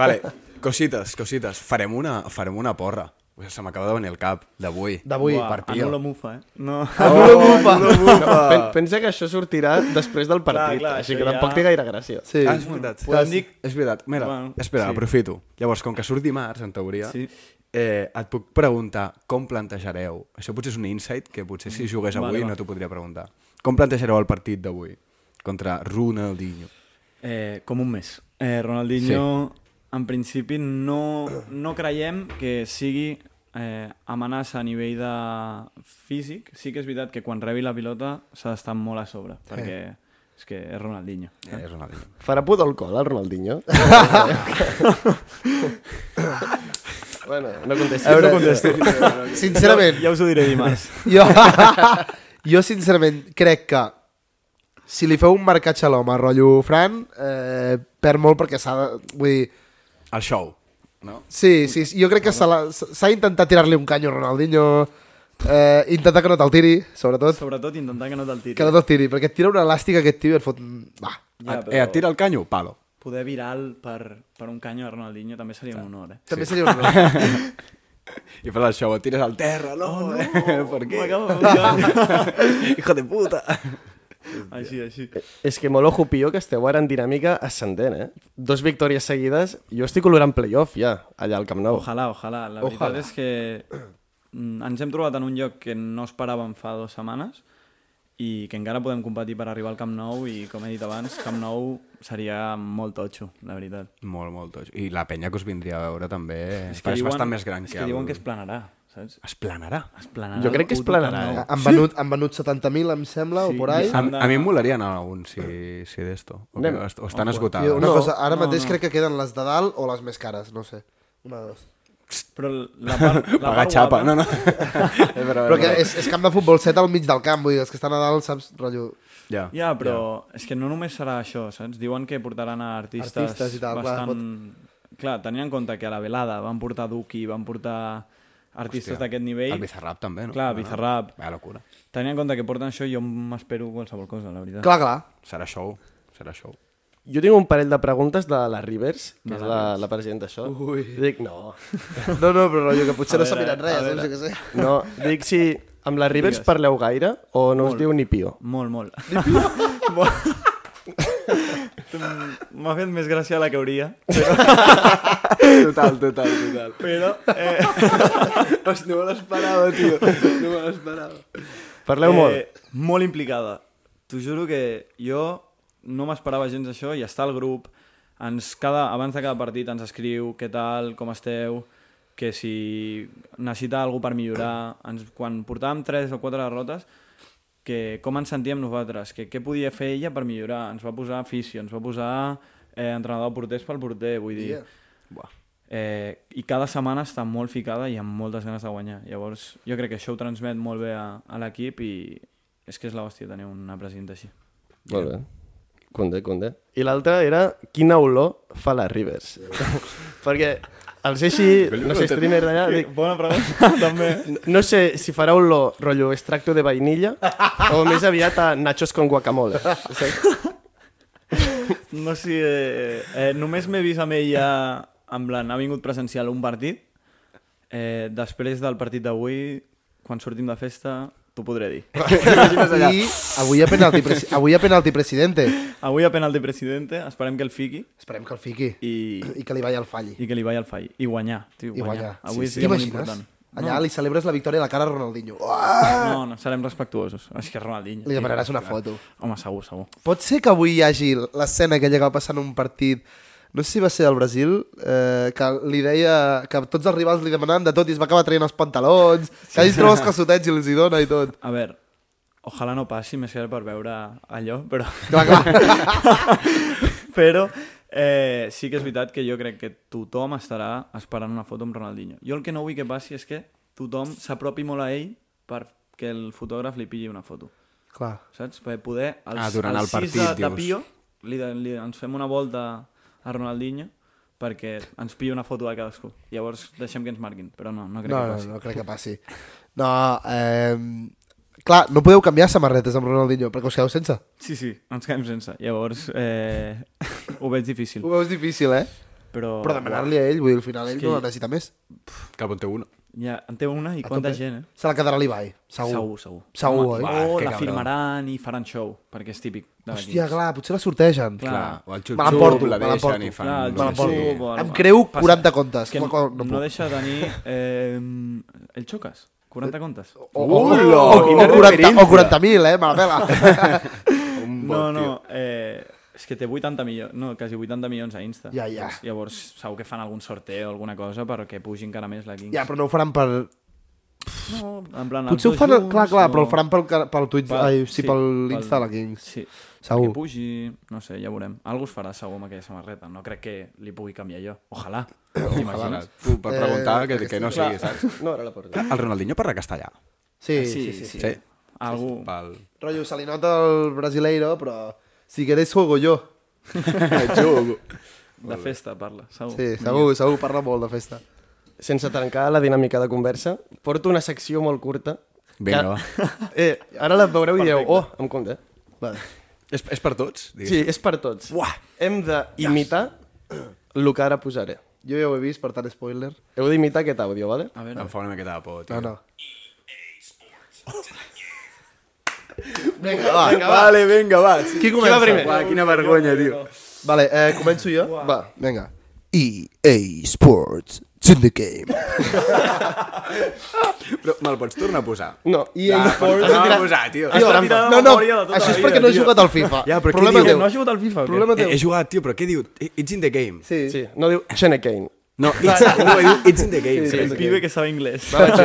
Vale, cosites, cosites. Farem una, farem una porra. Ui, Se m'acaba de venir el cap, d'avui. D'avui. Uah, per Pio. Anul·la mufa, eh? No. Anul·la bufa. Pen pensa que això sortirà després del partit, clar, així això que ja- tampoc té gaire gràcia. Sí. Ah, és veritat. podem dir- És veritat. Mira, Bueno, espera, sí. aprofito. Llavors, com que surt dimarts, en teoria, Sí. eh, et puc preguntar com plantejareu... Això potser és un insight que potser si jugués Vale, avui va. no t'ho podria preguntar. Com plantejareu el partit d'avui contra Ronaldinho? Eh, com un mes. Eh, Ronaldinho, sí. en principi, no, no creiem que sigui eh, amenaça a nivell de físic. Sí que és veritat que quan rebi la pilota s'ha d'estar molt a sobre, perquè és que és Ronaldinho. Eh, és Ronaldinho. Farà put al col, el Ronaldinho? bueno, no contestis. A veure, no Sincerament, Ja us ho diré dimarts. Jo, jo sincerament crec que si li feu un marcatge a l'home, rotllo Fran, eh, perd molt perquè s'ha de... Vull dir, El show, no? sí, sí, sí, jo crec que se la- s'ha intentat tirar-li un canyo a Ronaldinho, eh, intentar que no te'l tiri, sobretot. Sobretot intentar que no te'l tiri. Que no te'l tiri, perquè et tira una elàstica aquest tio i et fot... un- Va, Ja, Ja, però... eh, et tira el canyo? Palo. Poder virar el per, per un canyo de Ronaldinho també seria un honor, eh? també seria un error. I fas el show, et tires al terra, no? Oh, no. per què? Hijo de puta. així, així. Eh, És que molt ojo pio que esteu ara en dinàmica ascendent, eh? Dos victòries seguides, jo estic olorant playoff ja, allà al oh. Camp Nou. Ojalà, ojalà. La ojalà. Ojalà. veritat és que mm, ens hem trobat en un lloc que no esperàvem fa dues setmanes i que encara podem competir per arribar al Camp Nou i, com he dit abans, Camp Nou seria molt totxo, la veritat. Molt, molt toig. I la penya que us vindria a veure també és, que és bastant més gran és que, diuen que es planarà, saps? Es planarà. Es planarà. Jo crec que es el puto Camp planarà, Nou. eh? han venut, han venut 70.000, em sembla, sí, o por ahí. A, a mi em molaria anar a un, si, si d'esto. O, que Anem. est- o estan Tio, esgotades. una No. no, cosa, ara no, mateix no. crec que queden les de dalt o les més cares, no sé. Una de dos. Però la part, la eh? Pagar part xapa. guapa, No, no. però, Però que és, és camp de futbol set al mig del camp, vull dir, els que estan a dalt, saps, rotllo... Ja. Ja, però yeah. és que no només serà això, saps? Diuen que portaran a artistes, Artistes i tal, clar, bastant... Clar, clar, tenint en compte que a la velada van portar Duki, van portar artistes d'aquest nivell, El Bizarrap també, no? Clar, no, Bizarrap. No? Vaya locura. tenint en compte que porten això, jo m'espero qualsevol cosa, la veritat. Clar, clar. Serà show. Serà show. Jo tinc un parell de preguntes de la Rivers, que és la, la presidenta d'això. Dic, no. No, no, però rotllo que potser A no s'ha veure, mirat res, a no sé què sé. No, dic si amb la Rivers Digues. parleu gaire o no us diu ni pio. Molt, molt. Molt. M'ha fet més gràcia la que hauria, Total, total, total. però... Eh, No me l'esperava, tio. No me l'esperava. Eh, Parleu molt. Eh, Molt implicada. T'ho juro que jo no m'esperava gens això i està al grup, ens cada, abans de cada partit ens escriu què tal, com esteu, que si necessita alguna per millorar. Ens, quan portàvem 3 o 4 derrotes, que com ens sentíem nosaltres, que què podia fer ella per millorar. Ens va posar afició, ens va posar eh, entrenador de porters pel porter, vull dir... Yeah. Yeah. Eh, I cada setmana està molt ficada i amb moltes ganes de guanyar. Llavors, jo crec que això ho transmet molt bé a, a l'equip i és que és la hòstia tenir una presidenta així. Molt bé. Conde, conde. I l'altra era quina olor fa la Rivers. Perquè els així, no sé, streamer d'allà, dic, Bona pregunta, també. no sé si farà olor rotllo extracto de vainilla o més aviat a nachos con guacamole. No sé, eh, eh, només m'he vist amb ella, en plan, ha vingut presencial a un partit. Eh, després del partit d'avui, quan sortim de festa, t'ho podré dir. I avui hi ha penalti, presi- avui hi ha penalti presidente. Avui a penalti presidente, esperem que el fiqui Esperem que el fiqui i, i, I que li balli el falli. I, i que li vagi al fall. I guanyar, tio, i guanyar. guanyar. Avui sí, sí. és molt T'imagines? important. Allà li celebres la victòria a la cara a Ronaldinho. Uah! No, no, serem respectuosos. És que és Ronaldinho. Ah. Li demanaràs una foto. Home, segur, segur. Pot ser que avui hi hagi l'escena aquella que va passar en un partit no sé si va ser del Brasil, eh, que li deia que tots els rivals li demanaven de tot i es va acabar traient els pantalons, que ells troba els calçotets i els hi dona i tot. A veure, ojalà no passi més que per veure allò, però... Clar, clar. però eh, sí que és veritat que jo crec que tothom estarà esperant una foto amb Ronaldinho. Jo el que no vull que passi és que tothom s'apropi molt a ell per que el fotògraf li pilli una foto. Clar. Saps? Per poder, als, Ah, durant als el sis partit, de, dius. de Pio, li, de- li, ens fem una volta a Ronaldinho perquè ens pilla una foto de cadascú. Llavors deixem que ens marquin, però no, no crec No, que no, passi. no crec que passi. No, eh, clar, no podeu canviar samarretes amb Ronaldinho, perquè us quedeu sense. Sí, sí, ens quedem sense. Llavors, eh, ho veig difícil. Ho veus difícil, eh? Però, Però demanar-li a ell, vull dir, al final ell Oh, que- no la necessita més. Que bon té una. ja, en té una i A quanta tope. gent, eh? Se la quedarà l'Ibai, segur. Segur, segur. Segur, eh? Oh, oi? va, o que la cabrón. firmaran i faran show, perquè és típic. De Hòstia, clar, potser la sortegen. Clar. Clar, o el xup Me l'emporto, xup, la me l'emporto. deixen i fan... Clar, el Me la no sé, porto. xup-xup, sí. o Em el- creu passa. 40 contes. Que No, no, no, no, puc. deixa de tenir... Eh, el xoques, 40 contes. O, o, Ula, o, o, quina 40 referència. o 40.000, eh? Me la pela. Un bon No, tio. no, eh, és que té 80 milions, no, quasi 80 milions a Insta. Ja, ja. Llavors, segur que fan algun sorteo o alguna cosa perquè pugi encara més la Kings. ja, però no ho faran per... No, en plan, els Potser ho dos faran... junts, Clar, clar, o- però ho faran pel, ca- pel Twitch... Pel- ai, sí, sí, per pel- l'Insta de la Kings. Sí. Segur. Que pugi, no sé, ja veurem. Algú es farà segur amb aquella samarreta. No crec que li pugui canviar jo. Ojalà. T'imagines? Tu, per Eh, preguntar, que, que aquesta- no sigui, saps? No, ara la porta. El Ronaldinho parla castellà. Sí, Sí, sí, sí. Sí. Algú... Pel... Rollo, se li nota el brasileiro, però... Si querés juego jo. Jugo. De festa parla, segur. Sí, segur, segur, parla molt de festa. Sense trencar la dinàmica de conversa, porto una secció molt curta. Vinga, que- va. Eh, ara la veureu i direu, oh, em compte. Vale. És, és per tots? Digues. Sí, és per tots. Uah! Hem d'imitar el que ara posaré. Jo ja ho he vist, per tant, spoiler. Heu d'imitar aquest àudio, vale? A veure, Em fa una miqueta de por, tio. No, no. Vinga, va. Vinga, va. Vale, vinga, va. Sí. Qui comença? va primer? Uah, quina vergonya, tio. Vale, eh, començo jo? Va. Vinga. EA Sports, it's in the game. Però me'l pots tornar a posar? No, i ah, Torna Sports... a posar, tio. Tio, Està em- mirant no, la no, memòria de tota la això és vida, perquè no he tio. jugat al FIFA. Ja, però què Problema diu? teu. Eh, no has jugat Eh, al FIFA o què? Problema Eh, He, teu. he jugat, tio, però què diu? I- It's in the game. Sí. Sí, no diu Shane Kane. No, it's, no, he dit, it's in the game. Sí, El pibe que sabe inglès. Va, vaig jo.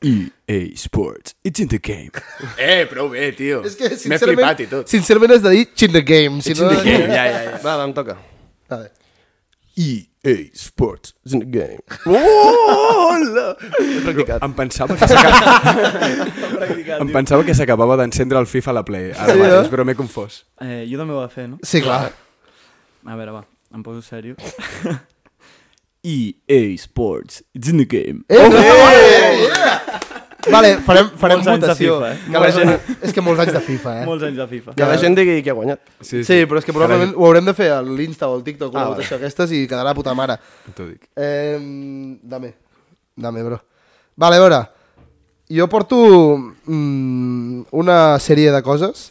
EA E Sports, it's in the game. Eh, prou bé, tio. És que, M'he flipat sincerament, i tot. sincerament has de dir it's in the game. Si It's no... in the game, ja, ja, ja. Va, va, em toca. Vale. EA E Sports is in the game. Hola! He practicat. Em pensava que s'acabava... em pensava que s'acabava d'encendre el FIFA a la Play, ara Sí, mateix, eh? però m'he confós. Eh, jo també ho he de fer, no? Sí, clar. A veure, va, em poso sèrio. EA Sports, it's in the game. Eh, no, eh, Vale, farem, farem Molts anys de votació. FIFA, eh? Que la gent... És que molts anys de FIFA, eh? Molts anys de FIFA. Que la gent digui que ha guanyat. Sí, sí, però és que probablement ho haurem de fer a l'Insta o al TikTok, una Ah, votació aquestes i quedarà puta mare. T'ho dic. Eh, dame, dame, bro. Vale, a veure, jo porto mm, una sèrie de coses.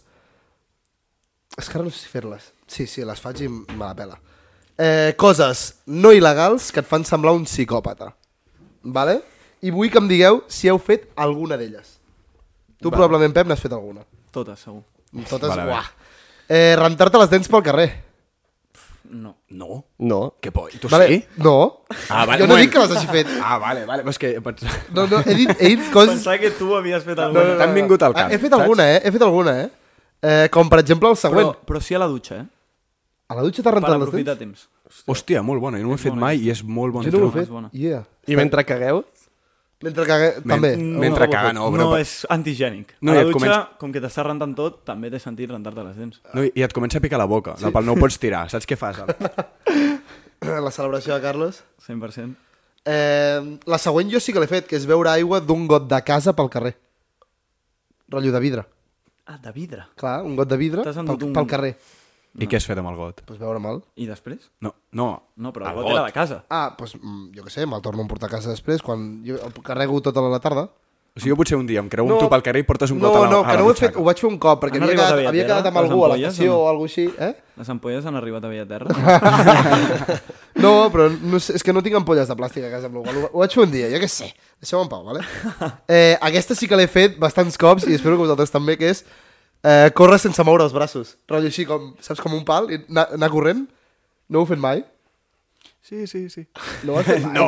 És que ara no sé si fer-les. Sí, sí, les faig i me la pela. Eh, coses no il·legals que et fan semblar un psicòpata. Vale? I vull que em digueu si heu fet alguna d'elles. Tu probablement, Pep, n'has fet alguna. Totes, segur. Totes, Vale, a vale, veure. uah. Eh, Rentar-te les dents pel carrer. No. No? No. Que por. Tu Vale? sí? No. Ah, vale, jo no un dic moment. que les hagi fet. Ah, vale, vale, però és que... he pensat- No, no, he dit, he dit coses... Pensava que tu havies fet No, alguna no, T'han vingut al Ah, cap, he fet alguna, eh? He fet alguna, eh? eh com, per exemple, el Però, següent. però sí a la dutxa, eh? A la dutxa t'has Per rentat les aprofitar dents? temps. Hòstia, molt bona, jo no ho he fet mai i és molt bon eh? Jo no ho he truc. fet. És bona. Yeah. I mentre cagueu, Mentre cague... També. Men mentre caga, no, però... no és antigènic. No, No, a i la et dutxa, comença- com que t'estàs rentant tot, també té sentit rentar-te les dents. No, i- I et comença a picar la boca, la pal no ho pots tirar, saps què fas? Mm. La celebració de Carles. 100%. Eh, la següent jo sí que l'he fet, que és beure aigua d'un got de casa pel carrer. Rotllo de vidre. Ah, de vidre. Clar, un got de vidre T'has pel, endut un- pel carrer. I què has fet amb el got? Pues beure mal. I després? No, no. No, però el el got era de casa. Ah, doncs, pues, jo què sé, me'l torno a emportar a casa després, quan jo el carrego tota la tarda. O sigui, jo potser un dia em creu un tu pel carrer i portes un no, got a la, no, a que la no ho he butxaca. fet, ho vaig fer un cop, perquè Han havia arribat a quedat, Via havia Terra, quedat amb les algú a ampolles, l'estació o no? o alguna així, eh? Les ampolles han arribat a veia terra. No, però no sé, és que no tinc ampolles de plàstic a casa amb la qual cosa. Ho, ho vaig fer un dia, jo què sé. Deixeu-me en pau, vale? Eh, aquesta sí que l'he fet bastants cops i espero que vosaltres també, que és eh, córrer sense moure els braços. Rotllo així, com, saps, com un pal, i anar, anar corrent. No ho he fet mai. Sí, sí, sí. No ho he fet mai. No,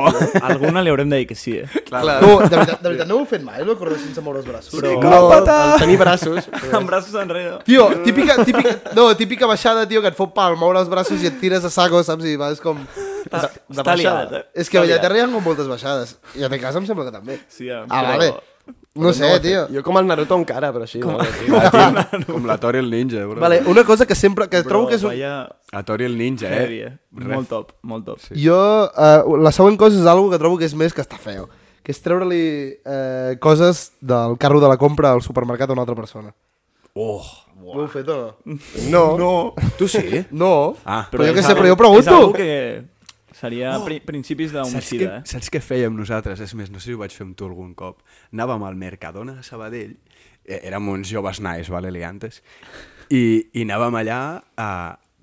Alguna li haurem de dir que sí, eh? No, de veritat, de veritat, no ho he fet mai, no córrer sense moure els braços. Però... al tenir braços, Amb braços enrere. Tio, típica, típica, no, típica baixada, tio, que et fot pal, moure els braços i et tires a saco, saps? I vas com... De, de Està liat, baixada. eh? És que a Bellaterra hi ha com moltes baixades. I a Tecasa em sembla que també. Sí, em ah, sembla vale. No sé, ho he tio. fet. Jo com el Naruto encara, però així. Com... No, tio. Com la Tori el Ninja, bro. Vale, una cosa que sempre... Que Però trobo que és... Un... Vaya... A Tori el Ninja, Heavy, eh? eh? Molt top, molt top. Sí. Jo... Eh, la següent cosa és algo que trobo que és més que està feo. Que és treure-li eh, coses del carro de la compra al supermercat a una altra persona. Oh. Ho heu fet o no? no. no. Tu sí? No. Ah. Però jo què sé, però jo pregunto. És algo que seria oh, pri principis Saps què, d'homicida, eh? saps què fèiem nosaltres? És més, no sé si ho vaig fer amb tu algun cop. Anàvem al Mercadona de Sabadell, eh, érem uns joves nais, vale, liantes, i, i anàvem allà a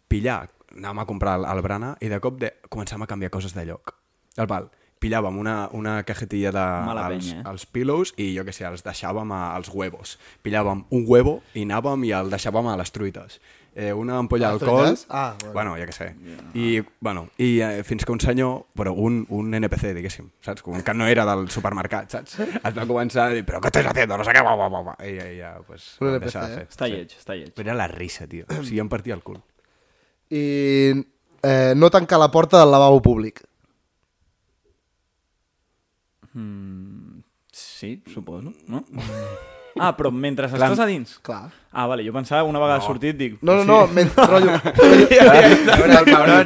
pillar, anàvem a comprar el, el brana i de cop de, començàvem a canviar coses de lloc. El val, pillàvem una, una cajetilla de, Mala als, penya, eh? als pillows i jo que sé, els deixàvem a, als huevos. Pillàvem un huevo i anàvem i el deixàvem a les truites. Eh, una ampolla A les d'alcohol... truites? Ah, bueno. Bueno, ja que sé. I, bueno, i eh, fins que un senyor, però un, un NPC, diguéssim, saps? Com que no era del supermercat, saps? Et va començar a dir, però què estàs haciendo? No sé què, va, va, va, va. I, i ja, pues, Un ho NPC, deixava eh? fer. Està lleig, està lleig. Però era la risa, tio. O sigui, em partia el cul. I eh, no tancar la porta del lavabo públic. Mm, Sí, suposo, no? Ah, però mentre estàs a dins. Clar. Ah, vale, jo pensava una vegada no. sortit, dic... No, no, no, sí. men... rotllo...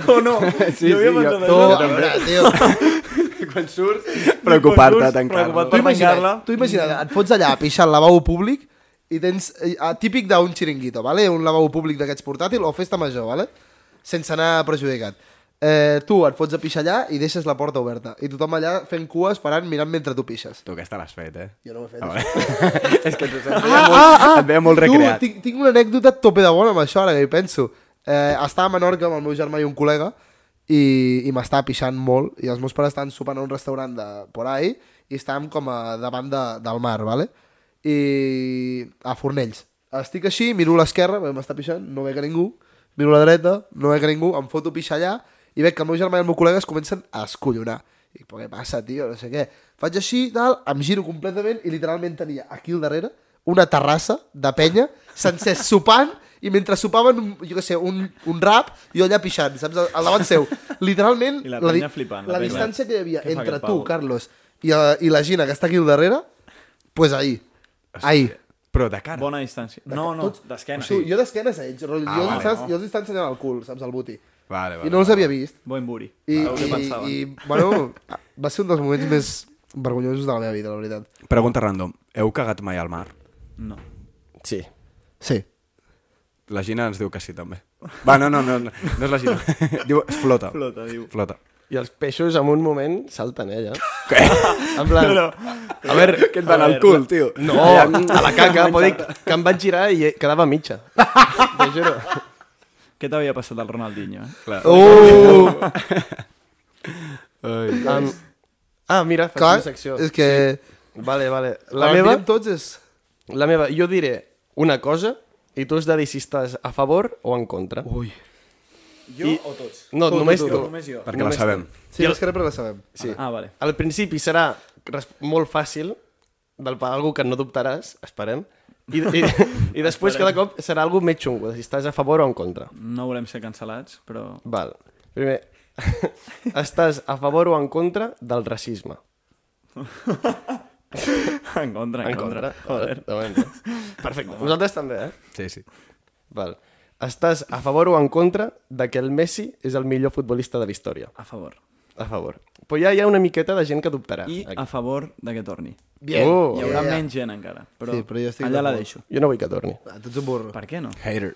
No, no, sí, jo havia pensat Tu, això. a veure, tio, Preocupar-te a Preocupat tancar-lo. Tu per imagina't, tancar-la. tu imagina't, et fots allà a pixar al lavabo públic i tens, eh, ah, típic d'un xiringuito, vale? un lavabo públic d'aquests portàtil o festa major, vale? sense anar perjudicat. Eh, tu et fots a pixar allà i deixes la porta oberta i tothom allà fent cua esperant mirant mentre tu pixes. Tu aquesta l'has fet, eh? Jo no ho he fet. Ah, Ah, vale. és que tu et veia molt, et veia molt recreat. Tu, tinc, tinc una anècdota tope de bona amb això, ara que hi penso. Eh, estava a Menorca amb el meu germà i un col·lega i, i m'estava pixant molt i els meus pares estaven sopant a un restaurant de por ahí i estàvem com a davant de, del mar, vale? I a Fornells. Estic així, miro a l'esquerra, perquè m'està pixant, no veig a ningú, miro a la dreta, no veig a ningú, em foto a pixar allà i veig que el meu germà i el meu col·lega es comencen a escollonar. Dic, però què passa, tio? No sé què. Faig així, tal, em giro completament i literalment tenia aquí al darrere una terrassa de penya, sencer sopant, i mentre sopaven, un- jo què sé, un, un rap, jo allà pixant, saps? Al- Al davant seu. Literalment, I la di- penya flipant, la la penya. distància que hi havia Què fa entre aquest tu, pavo? Carlos, i, la, i la Gina, que està aquí al darrere, doncs pues ahir. Ahir. Però de cara. Bona distància. No, no, Tots- d'esquena. O sigui, jo d'esquenes a ells, rotllo, Ah, jo, els vale, estava- no. jo els estava ensenyant el cul, saps, al buti. Vale, vale, I no els vale. havia vist. Bon buri. I, Ah, ho que i, pensava. i, bueno, va ser un dels moments més vergonyosos de la meva vida, la veritat. Pregunta random. Heu cagat mai al mar? No. Sí. Sí. La Gina ens diu que sí, també. Va, no, no, no, no, no és la Gina. diu, es flota. Flota, diu. Flota. I els peixos en un moment salten, eh, ja. En plan... No, A veure, Que et va anar al cul, tio. No, a la caca, però dic que em vaig girar i quedava a mitja. T'ho juro. Què t'havia passat al Ronaldinho, eh? Uh! Oh. Ai. Um, ah, mira, faig Clar, una secció. és que... Vale, vale. La La meva... meva, tots és... la meva, jo diré una cosa i tu has de dir si estàs a favor o en contra. Ui. Jo o tots? No, Tu, tu, només tu. tu. Només jo. Perquè la sabem. Sí, jo... l'esquerra la sabem. Sí. Ah, vale. Al principi serà res- molt fàcil, del pa algú que no dubtaràs, esperem, i, i, i després cada cop serà algú més xungo, de si estàs a favor o en contra. No volem ser cancel·lats, però... Val. Primer, estàs a favor o en contra del racisme? En contra, en, contra. Joder. De moment. Perfecte. Nosaltres també, eh? Sí, sí. Val. Estàs a favor o en contra de que el Messi és el millor futbolista de la història? A favor. A favor. Però ja hi ha una miqueta de gent que dubtarà. I a favor de que torni. Bien. Oh. Hi haurà menys gent encara, però, Sí, però jo estic allà la d'acord. deixo. Jo no vull que torni. Ah, tu ets un burro. Per què no? Hater.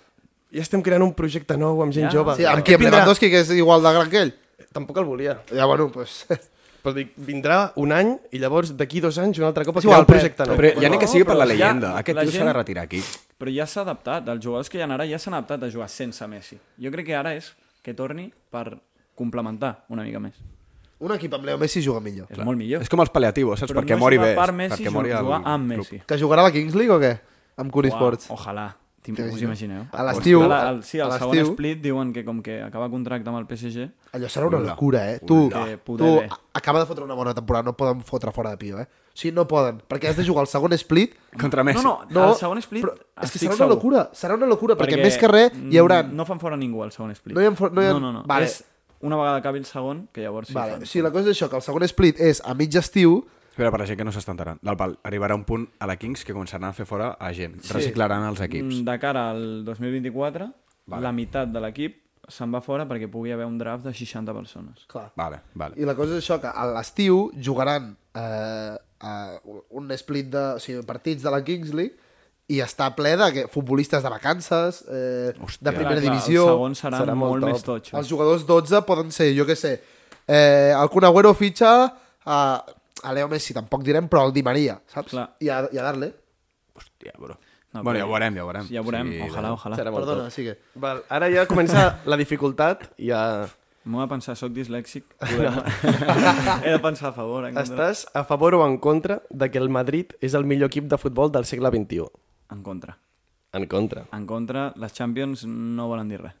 Ja estem creant un projecte nou amb gent Ja. jove. Sí, amb Aquest qui? Amb Lewandowski, que és igual de gran que ell? Tampoc el volia. Ja, bueno, doncs... Pues... Però dic, vindrà un any i llavors d'aquí dos anys un altre cop a igual, crear un projecte nou. Però ja ni que sigui per la però ja- leyenda. Aquest la tio s'ha gent- de retirar aquí. Però ja s'ha adaptat, els jugadors que hi ha ara ja s'han adaptat a jugar sense Messi. Jo crec que ara és que torni per complementar una mica més. Un equip amb Leo Messi juga millor. És molt millor. És com els paliatius, saps? Però perquè no mori jugar bé. Per Messi, perquè perquè mori al jugar amb club. Messi. Que jugarà a la Kings League o què? Amb Curi Sports. ojalà. Tim- Us imagineu? A l'estiu- Ara, el- Sí, a al segon l'estiu- split diuen que com que acaba contracte amb el PSG, Allò serà una locura, eh? Tu, Que tu poder bé. a- acaba de fotre una bona temporada, no et poden fotre fora de pio, eh? O sigui, no poden, perquè has de jugar el segon split... Contra Messi. No, no, No, el segon split... Ah, però és que estic serà una segur. mm, locura, serà una locura, perquè, més que res hi haurà... No fan fora ningú al segon split. No hi ha for- no hi ha- no, no, no. Vale. És una vegada acabi el segon, que llavors sí Vale. fan. O sigui, la cosa és això, que el segon split és a mig estiu, Espera, per la gent que no s'està enterant. Del pal, arribarà un punt a la Kings que començaran a fer fora a gent. Sí. Reciclaran els equips. Mm, De cara al 2024, Vale. vale. la meitat de l'equip se'n va fora perquè pugui haver un draft de 60 persones. clar. Vale, vale. I la cosa és això, que a l'estiu jugaran eh, a un split de o sigui, partits de la Kings League i està ple de que- futbolistes de vacances, eh, Hòstia. de primera Clar, clar, divisió... El segon serà, serà serà molt molt, top. més totxo. Els jugadors 12 poden ser, jo què sé, eh, el Kun Agüero fitxa a, a Leo Messi, tampoc direm, però el Di Maria, saps? Clar. I a, i a Darle. Hòstia, bro. No, No, bueno, però- ja ho veurem, ja ho veurem. Ja ho veurem, Sí, ojalà, ojalà. Serà molt Perdona, top. sigue. Val, ara ja comença la dificultat. Ja... M'ho he de pensar, soc dislèxic. podem- he de pensar a favor. En contra. Estàs a favor o en contra de que el Madrid és el millor equip de futbol del segle XXI? En contra. En contra. En contra, les Champions no volen dir res.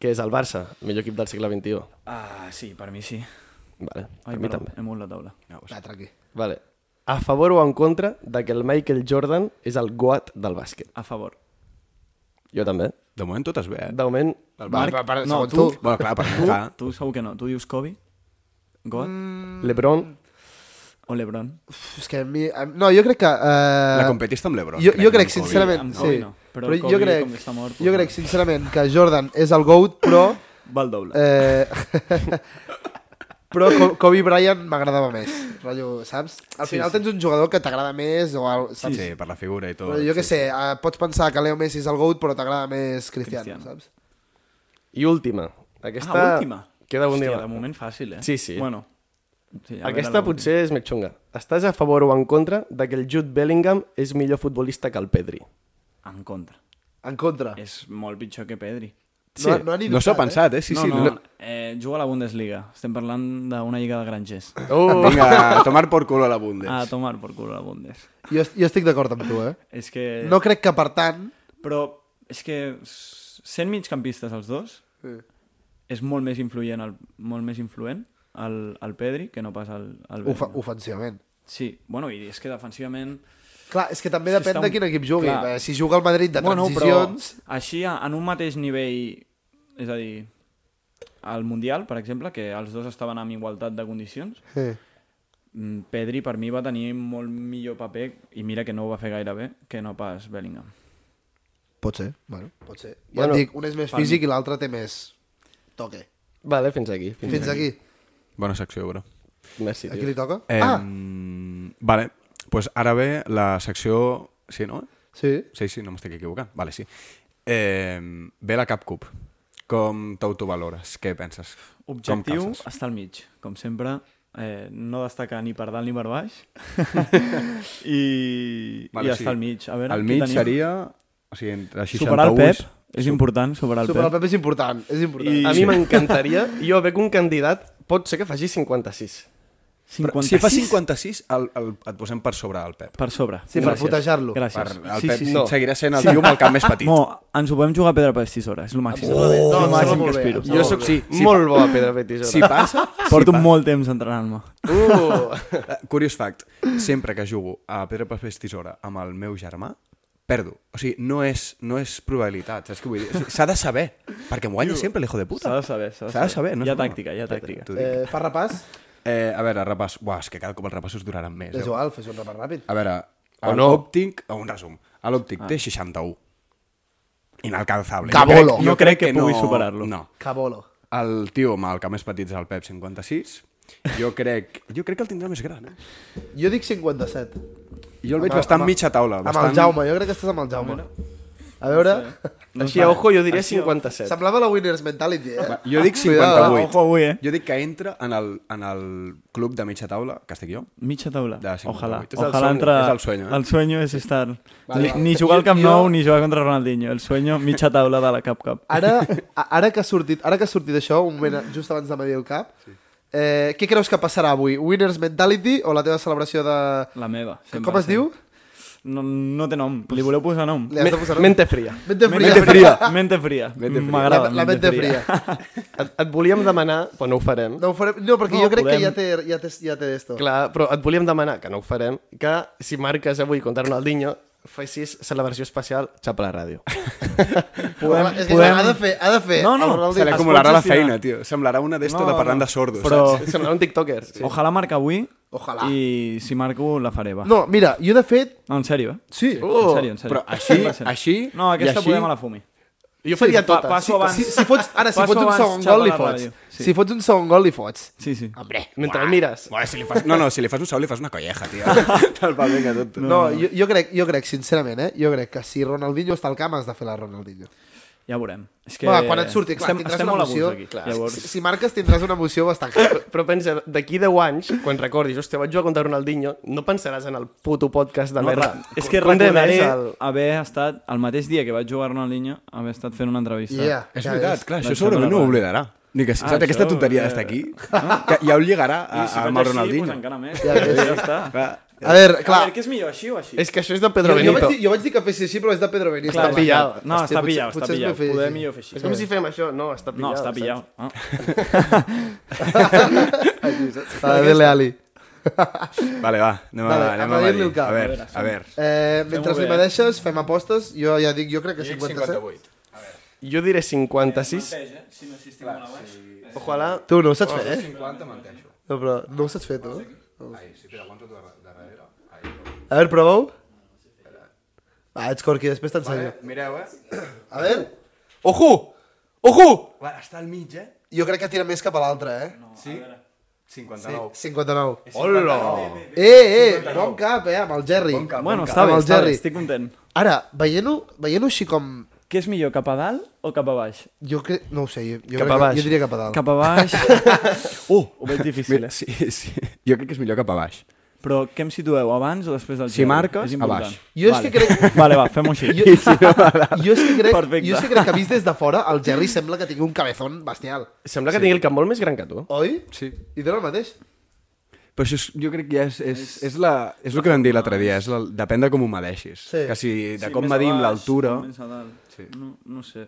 Que és el Barça, el millor equip del segle XXI. Ah, sí, per mi sí. Vale, Ai, per mi perdó, també. he mogut la taula. Va, tranqui. Vale. A favor o en contra de que el Michael Jordan és el goat del bàsquet? A favor. Jo també. De moment tot es ve, eh? De moment, Marc, va, va, no, tu. Bueno, clar, per mi, clar. Tu segur que no. Tu dius Kobe, God LeBron... o LeBron. Uf, És que a mi... a- No, jo crec que... Eh, La competista amb l'Ebro. jo, jo crec, amb Kobe. sincerament, Amb Kobe sí. no, però Però, Kobe, jo crec, com està mort, jo no. crec, sincerament, que Jordan és el GOAT, però... Va el doble. Eh, però Co- Kobe Bryant m'agradava més. Rotllo, saps? Al Sí, final sí. tens un jugador que t'agrada més, o el, Sí, saps? sí, per la figura i tot. Però jo què sé, eh, pots pensar que Leo Messi és el GOAT, però t'agrada més Cristiano, Cristiano. saps? I última. Aquesta... Ah, última. Queda un Hòstia, dia. de moment fàcil, eh? Sí, sí. Bueno. Sí, a veure Aquesta l'última. potser és més xunga. Estàs a favor o en contra de que el Jude Bellingham és millor futbolista que el Pedri? En contra. En contra. És molt pitjor que Pedri. No, no, han No s'ho ha dubtat, pensat, eh? Sí, no, sí. no, eh, juga a la Bundesliga. Estem parlant d'una lliga de grangers. Oh, Vinga, a tomar por culo a la Bundes. A tomar por culo la Bundes. Eh? Jo, est- jo estic d'acord amb tu, eh? És que... No crec que, per tant... Però és que s- sent migcampistes els dos Sí. és molt més influent el, molt més influent el, el Pedri que no pas el, el Of Bellingham. ofensivament. Sí, bueno, i és que defensivament... Clar, és que també Sí, depèn està de un- quin equip jugui. clar. Eh, Si juga al Madrid de bueno, transicions... però així, a- en un mateix nivell, és a dir, al Mundial, per exemple, que els dos estaven en igualtat de condicions, Eh. mm, Pedri per mi va tenir molt millor paper, i mira que no ho va fer gaire bé, que no pas Bellingham. Pot ser, bueno, pot ser. Ja Bueno, et dic, un és més físic i l'altre té més toque. vale, fins aquí. Fins, Fins aquí. Bona secció, bro. aquí. Merci, Aquí tio. li toca? Eh, Ah, Vale, doncs pues ara ve la secció... Sí, no? sí. Sí, sí, no m'estic equivocant. Vale, sí. Eh, ve la Cap Cup. Com t'autovalores? Què penses? Com Objectiu, calces? estar al mig. Com sempre, eh, no destacar ni per dalt ni per baix. I, Vale, vale, i o estar sigui, al mig. A veure, Al qui mig tenim? seria... O sigui, entre 61... Superar el Pep, és important, superar el Superar el Pep. Pep és important, és important. I- A Sí. mi m'encantaria... Jo veig un candidat, pot ser que faci 56. Però, si fa 56, el, el, et posem per sobre el Pep. Per sobre. Sí, per Gràcies. putejar-lo. Per, Gràcies. el Sí, Pep sí, sí. No. seguirà sent el tio amb el cap més petit. Mo, ens ho podem jugar a pedra, per tisora, és el màxim. Oh, No, doncs, és el em sembla màxim que molt bé, aspiro. em Jo molt sóc bé. sí, molt bo a Pedra Petis. Si passa... Porto molt temps entrenant-me. Uh, Eh, Curious fact, sempre que jugo a Pedra, Papel, Tisora amb el meu germà, perdo. O sigui, no és, no és probabilitat, saps què vull dir? O sigui, S'ha de saber, perquè em guanya sempre l'hijo de puta. S'ha de saber, s'ha de S'ha de saber. saber, no Hi ha és broma. tàctica, hi ha tàctica. T'ho dic. Eh, fa repàs? Eh, a veure, repàs. Buah, és que cada cop els repassos duraran més. És Eh? igual, fes un repàs ràpid. A veure, O el no. òptic... O un resum. A l'òptic té 61. Inalcanzable. Cabolo. Jo crec, jo crec que, pugui no, superar-lo. No. Cabolo. El tio amb el que més petit és el Pep 56. Jo crec, jo crec que el tindrà més gran, eh? Jo dic 57. Jo el veig Amb el- bastant amb el- mitja taula. Bastant... Amb Bastant... el Jaume, jo crec que estàs amb el Jaume. A veure... així, a ojo, jo diria 57. Semblava la Winners Mentality, eh? Va, Jo dic Cuidado, 58. ojo avui, eh? Jo dic que entra en el, en el club de mitja taula, que estic jo. Mitja taula. Ah, De 58. Ojalà. És el Ojalà sueño, entra... és el sueño, eh? El sueño és estar... Vale, ni, va. ni jugar al Camp Jo- Nou ni jugar contra Ronaldinho. El sueño, mitja taula de la Cap Cap. Ara, a- ara que ha sortit, ara que ha sortit això, un moment just abans de m'havia el cap, eh, què creus que passarà avui? Winners Mentality o la teva celebració de... La meva. sempre, Com es sempre. diu? No, no té nom. Li voleu posar nom? Li has de posar... Mente fria. Pues Mente fria. Mente fria. Mente fria. La, M'agrada. la mente fria. Et, et volíem demanar, però no ho farem, No, ho farem... no perquè No, jo crec podem. que ja té, ja té, ja té esto. Clar, però et volíem demanar, que no ho farem, que si marques avui contra Ronaldinho, fessis celebració especial, xapa la ràdio. Podem, és que podem... ha de fer, ha de fer. No, no, el Ronaldo- Se li Es acumularà pot la gestionar. feina, tio. Semblarà una d'esto No, de parlant no. de sordos, Però- Oh. saps? Semblarà un tiktoker. Sí. Ojalà marca avui. Ojalà. I si marco, la faré, va. No, mira, jo de fet... No, en sèrio, eh? Sí. Oh, en sèrio, en sèrio. Però així, 100%. així... No, aquesta i així... podem a la fumi. Jo faria Pa- totes. passo abans. Si, si fots, ara, si Passo fots un abans, segon xapa gol, li la fots. ràdio. Sí. Si fots un segon gol, li fots. Sí, sí. Hombre. Mentre el mires. Bueno, si li fas... No, no, si li fas un sol, li fas una colleja, tio. Tal pal, vinga, tot. No, no, jo, jo, crec, jo crec, sincerament, eh? Jo crec que si Ronaldinho està al camp, has de fer la Ronaldinho. Ja ho veurem. És Que... que... Va, quan et surti, clar, estem, tindràs estem una molt a gust emoció. aquí. Clar, Llavors, si, si marques, tindràs una emoció bastant clara. Però pensa, d'aquí 10 anys, quan recordis, hòstia, vaig jugar contra Ronaldinho, no pensaràs en el puto podcast de no, merda. re- és que Com de recordaré més el- haver estat, el mateix dia que vaig jugar a Ronaldinho, haver estat fent una entrevista. Yeah, És ja veritat, clar, això Doncs segurament no sembla ho raro. oblidarà. Ni que, saps, això, aquesta tonteria eh, d'estar aquí, que ja ho lligarà a, I si a, faig amb el així, Ronaldinho. Doncs encara més. Ja, ja, està. A veure, Clar. Eh, clar, A veure, què és millor, així o així? És que això és de Pedro jo, jo, vaig Benito. dir, jo vaig dir que fessis així, però és de Pedro Benito. Clar, No, pillau. Hòstia, està potser- pillau, està potser es pillau. va fer Poder així. millor fer així. És com si fem això. No, està No, pillau. està saps? pillau. Ah. Ah, dele, Ali. Vale, va, anem a, Vale, anem a a, Madrid. medir-li el cap. A veure, a veure. Eh, mentre Fem-ho li bé. medeixes, fem apostes. Jo ja dic, jo crec que 57. Jo diré 56. eh? Si no assistim a la baix. Ojalà... Tu no ho saps fer, eh? 50 menteixo. No, però no ho saps fer, tu. Ai, sí, però aguanto de darrere. A veure, proveu. Va, ets corqui, després t'ensenyo. Mireu, eh? A veure, Ojo! Ojo! Bueno, està al mig, eh? jo crec que tira més cap a l'altre, eh? Sí? 59. 59. Hola! Eh, eh, bon cap, eh, amb el Jerry. Bon cap. Bueno, Amb està bé, el està bé, Jerry. estic content. Ara, veient-ho veient així com... Què és millor, cap a dalt o cap a baix? Jo crec... No ho sé, jo, jo, crec Cap a que- baix. jo diria cap a dalt. Cap a baix... Uh, ho veig difícil, Mira, eh? sí, sí. Jo crec que és millor cap a baix. Però què em situeu, abans o després del Si Xavi? marques, És a important. baix. Jo és que crec- Vale, va, fem-ho així. Jo, jo, és que crec, Perfecte. jo és que crec que vist des de fora, el Jerry sembla que tingui un cabezón bestial. eh? Sembla que tingui el cap molt més gran que tu. Oi? Sí. I té el mateix? Però això és, jo crec que ja és, és, és, la, és el que vam dir l'altre dia, és la, depèn de com ho medeixis. Sí. Que si de Sí, com més a medim baix, l'altura... més a dalt. No, no sé.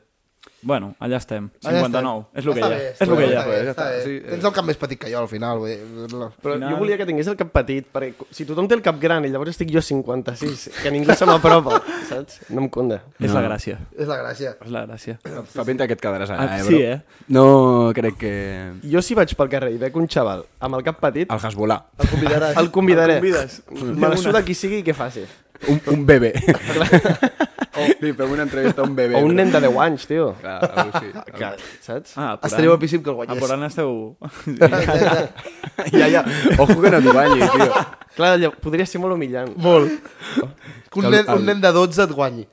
Bueno, allà estem. Allà 59. És estem. el que Està hi ha. bé, És el que hi està ha. bé, ja està està. bé. Sí, eh. Tens el cap més petit que jo, al final. Vull dir... no. Però Final. jo volia que tingués el cap petit, perquè si tothom té el cap gran i llavors estic jo 56, que ningú se m'apropa, saps? No em conda. És la gràcia. És la gràcia. És la gràcia. Fa pinta que et quedaràs allà, Ah, eh, sí, bro? eh? No crec que... Jo si vaig pel carrer i veig un xaval amb el cap petit, El Hezbollah. El convidaràs. el convidaré. El convides. Me la suda qui sigui i què faci. Un, un bebè. Li fem una entrevista a un bebè. O un bro. nen de 10 anys, tio. Clar, algú sí. Que, saps? Ah, apurant. Estaria guapíssim que el guanyés. Apurant esteu... Ja, ja. Ojo que no t'hi banyi, tio. Clar, llav- podria ser molt humillant. Molt. Que un, El- nen, el- un nen de 12 et guanyi.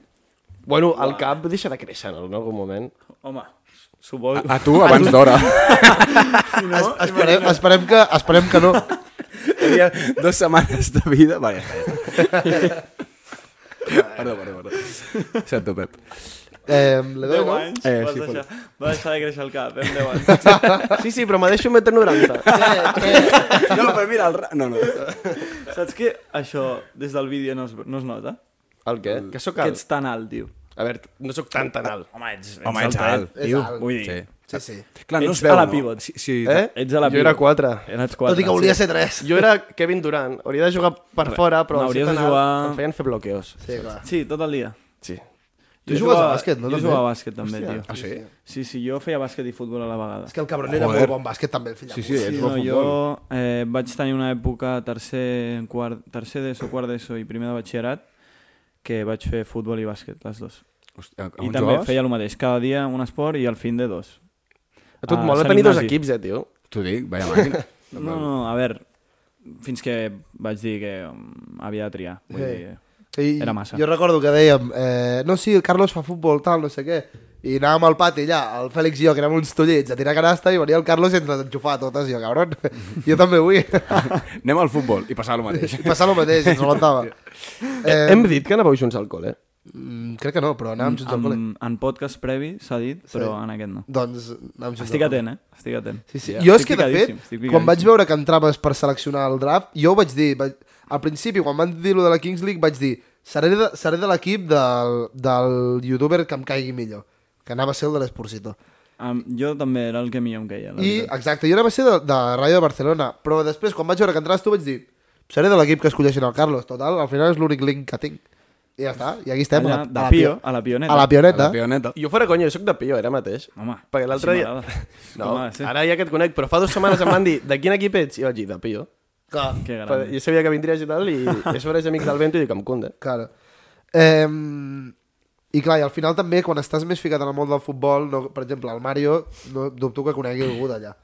Bueno, el cap deixa de créixer en algun moment. Home, suposo... A tu, abans d'hora. Es, esperem, esperem, que, esperem que no. Tenia dues setmanes de vida. Vale, ja està, ja està. Perdó, perdó, perdó. Sento, Pep. Eh, le doy, 10 no? anys, Eh, vas sí, deixar, va deixar de créixer el cap, eh, en 10 anys. Sí, sí, però me deixo un metre 90. No, però mira, el... ra- No, no. Saps que això des del vídeo no es, no es nota? El què? Que sóc Que alt. ets tan alt, tio. A veure, no sóc tan tan alt. Home, ets, ets eh? Home, ets eh? alt, És tio. alt. Vull dir, Sí. Sí, sí. Clar, no Ets es veu, a la no? pivot. Sí, sí, Eh? Ets a la Eh. jo era pivot. 4. Eres quatre. Tot i que volia ser 3. Jo era Kevin Durant. Hauria de jugar per fora, però... al hauries ser de tan alt, jugar- Em feien fer bloqueos. Sí, clar. Sí, tot el dia. Sí. Tu jugues a bàsquet, no, Jo també? jugava a bàsquet, també, Hòstia. tio. Ah, sí? Sí, sí, jo feia bàsquet i futbol a la vegada. És que el cabron era Joder. molt bon bàsquet també, el fill de Sí, puta. sí, ets Sí, bo no, futbol. jo eh, vaig tenir una època tercer, quart, tercer d'ESO, quart d'ESO i primer de batxillerat que vaig fer futbol i bàsquet, les dues. Hòstia, on I també jugaves? feia el mateix, cada dia un esport i al fin de dos. A tu et Ah, mola Sant tenir dos Ignasi. equips, eh, tio? T'ho dic, vaya màquina. No, no, a veure, fins que vaig dir que mm, havia de triar. Vull Sí. dir, I Era massa. Jo recordo que dèiem, eh, no, sí, el Carlos fa futbol, tal, no sé què. I anàvem al pati allà, el Fèlix i jo, que érem uns tollits, a tirar canasta, i venia el Carlos i ens les enxufava totes, i jo, cabron, jo també vull. Anem al futbol i passava el mateix. I passava el mateix, ens remontava. Eh... Hem dit que anàveu junts al eh? col·le. Mm, crec que no, però anàvem junts al col·le. en, en podcast previ s'ha dit, però en aquest no. Doncs anàvem junts Estic al col·le. atent, eh? Estic atent. Sí, sí. Ja. Jo és Estic que, de fet, picadíssim, estic quan vaig picadíssim. veure que entraves per seleccionar el draft, jo ho vaig dir, vaig... al principi, quan van dir lo de la Kings League, vaig dir, seré de, seré de l'equip del, del youtuber que em caigui millor, que anava a ser el de l'Esporcito. Um, jo també era el que millor em queia. la I, veritat. exacte, jo anava a ser de, de Ràdio de Barcelona, però després, quan vaig veure que entraves tu, vaig dir, seré de l'equip que escolleixin el Carlos, total, al final és l'únic link que tinc. I ja està, i aquí estem. Allà, a la, de a la Pio, pio- a la Pioneta. A la pioneta. La pioneta. Jo fora conya, jo sóc de Pio, ara mateix. Home, perquè l'altre així dia... m'agrada. No, Home, sí. ara ja que et conec, però fa dues setmanes em van dir de quin equip ets? I jo vaig dir, de Pio. Clar, Que gran. Però jo sabia que vindries i tal, i, i a sobre és amic del Vento i dic, em cunda. Claro. Eh, I clar, i al final també, quan estàs més ficat en el món del futbol, no, per exemple, el Mario, no dubto que conegui algú d'allà.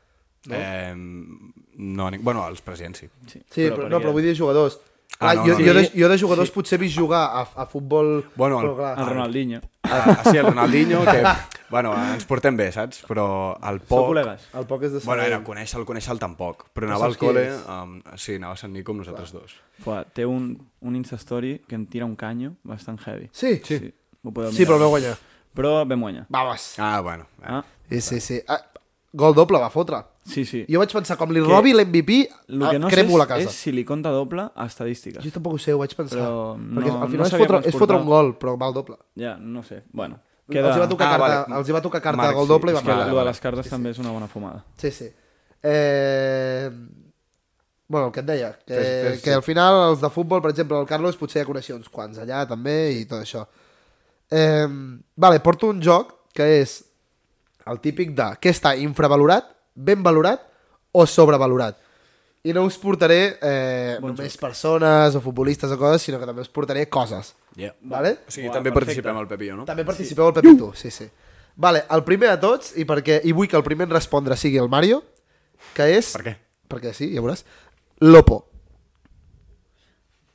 No? Eh, no, ni... bueno, els presidents sí. Sí, Sí, però, però, no, però vull dir jugadors. Ah, Ah, no, clar, jo, no, no. jo, de, jo de jugadors sí. potser he vist jugar a, a futbol... Bueno, el- però, clar, El Ronaldinho. Ah, sí, el Ronaldinho, que... Bueno, ens portem bé, saps? Però el Són poc... col·legues. el poc és de Bueno, Sabadell. era conèixer el conèixer el tampoc. Però No anava al saps qui col·le... és. Um, sí, anava a Sant Nico amb nosaltres dos. Fua, té un, un Instastory que em tira un canyo bastant heavy. Sí? Sí, sí. Ho podeu Sí, mirar. però el veu guanyar. Però vam guanyar. Vamos. Ah, bueno. Eh. Ah, Sí, sí, sí. Ah, gol doble va fotre. sí, sí. Jo vaig pensar, com li robi l'MVP, Lo que no no sé ah, cremo la casa. és si li compta doble a estadístiques. Jo tampoc ho sé, ho vaig pensar. Però no- Perquè no al final és, sabia fotre, quants és fotre un portava. gol, però va al doble. Ja, no sé. Bueno, Queda... queda... Els, hi va tocar Ah, ah, carta, vale. els hi va tocar carta Marc, de gol sí, doble és i És van que Vale, vale, parar. lo vale. de les cartes també és una bona fumada. Sí, sí. Eh... Bueno, el que et deia, que, Fes- fes- que al final els de futbol, per exemple, el Carlos potser ja coneixia uns quants allà també i tot això. Eh... Vale, porto un joc que és el típic de què està infravalorat, ben valorat o sobrevalorat. I no us portaré eh, bon només joc. persones o futbolistes o coses, sinó que també us portaré coses. Yeah. Vale? O sigui, Uah, també perfecte. participem al Pepillo, no? També participeu al Pepito, sí, sí. Vale, el primer de tots, i perquè i vull que el primer en respondre sigui el Mario, que és... Per què? Perquè sí, ja veuràs. Lopo.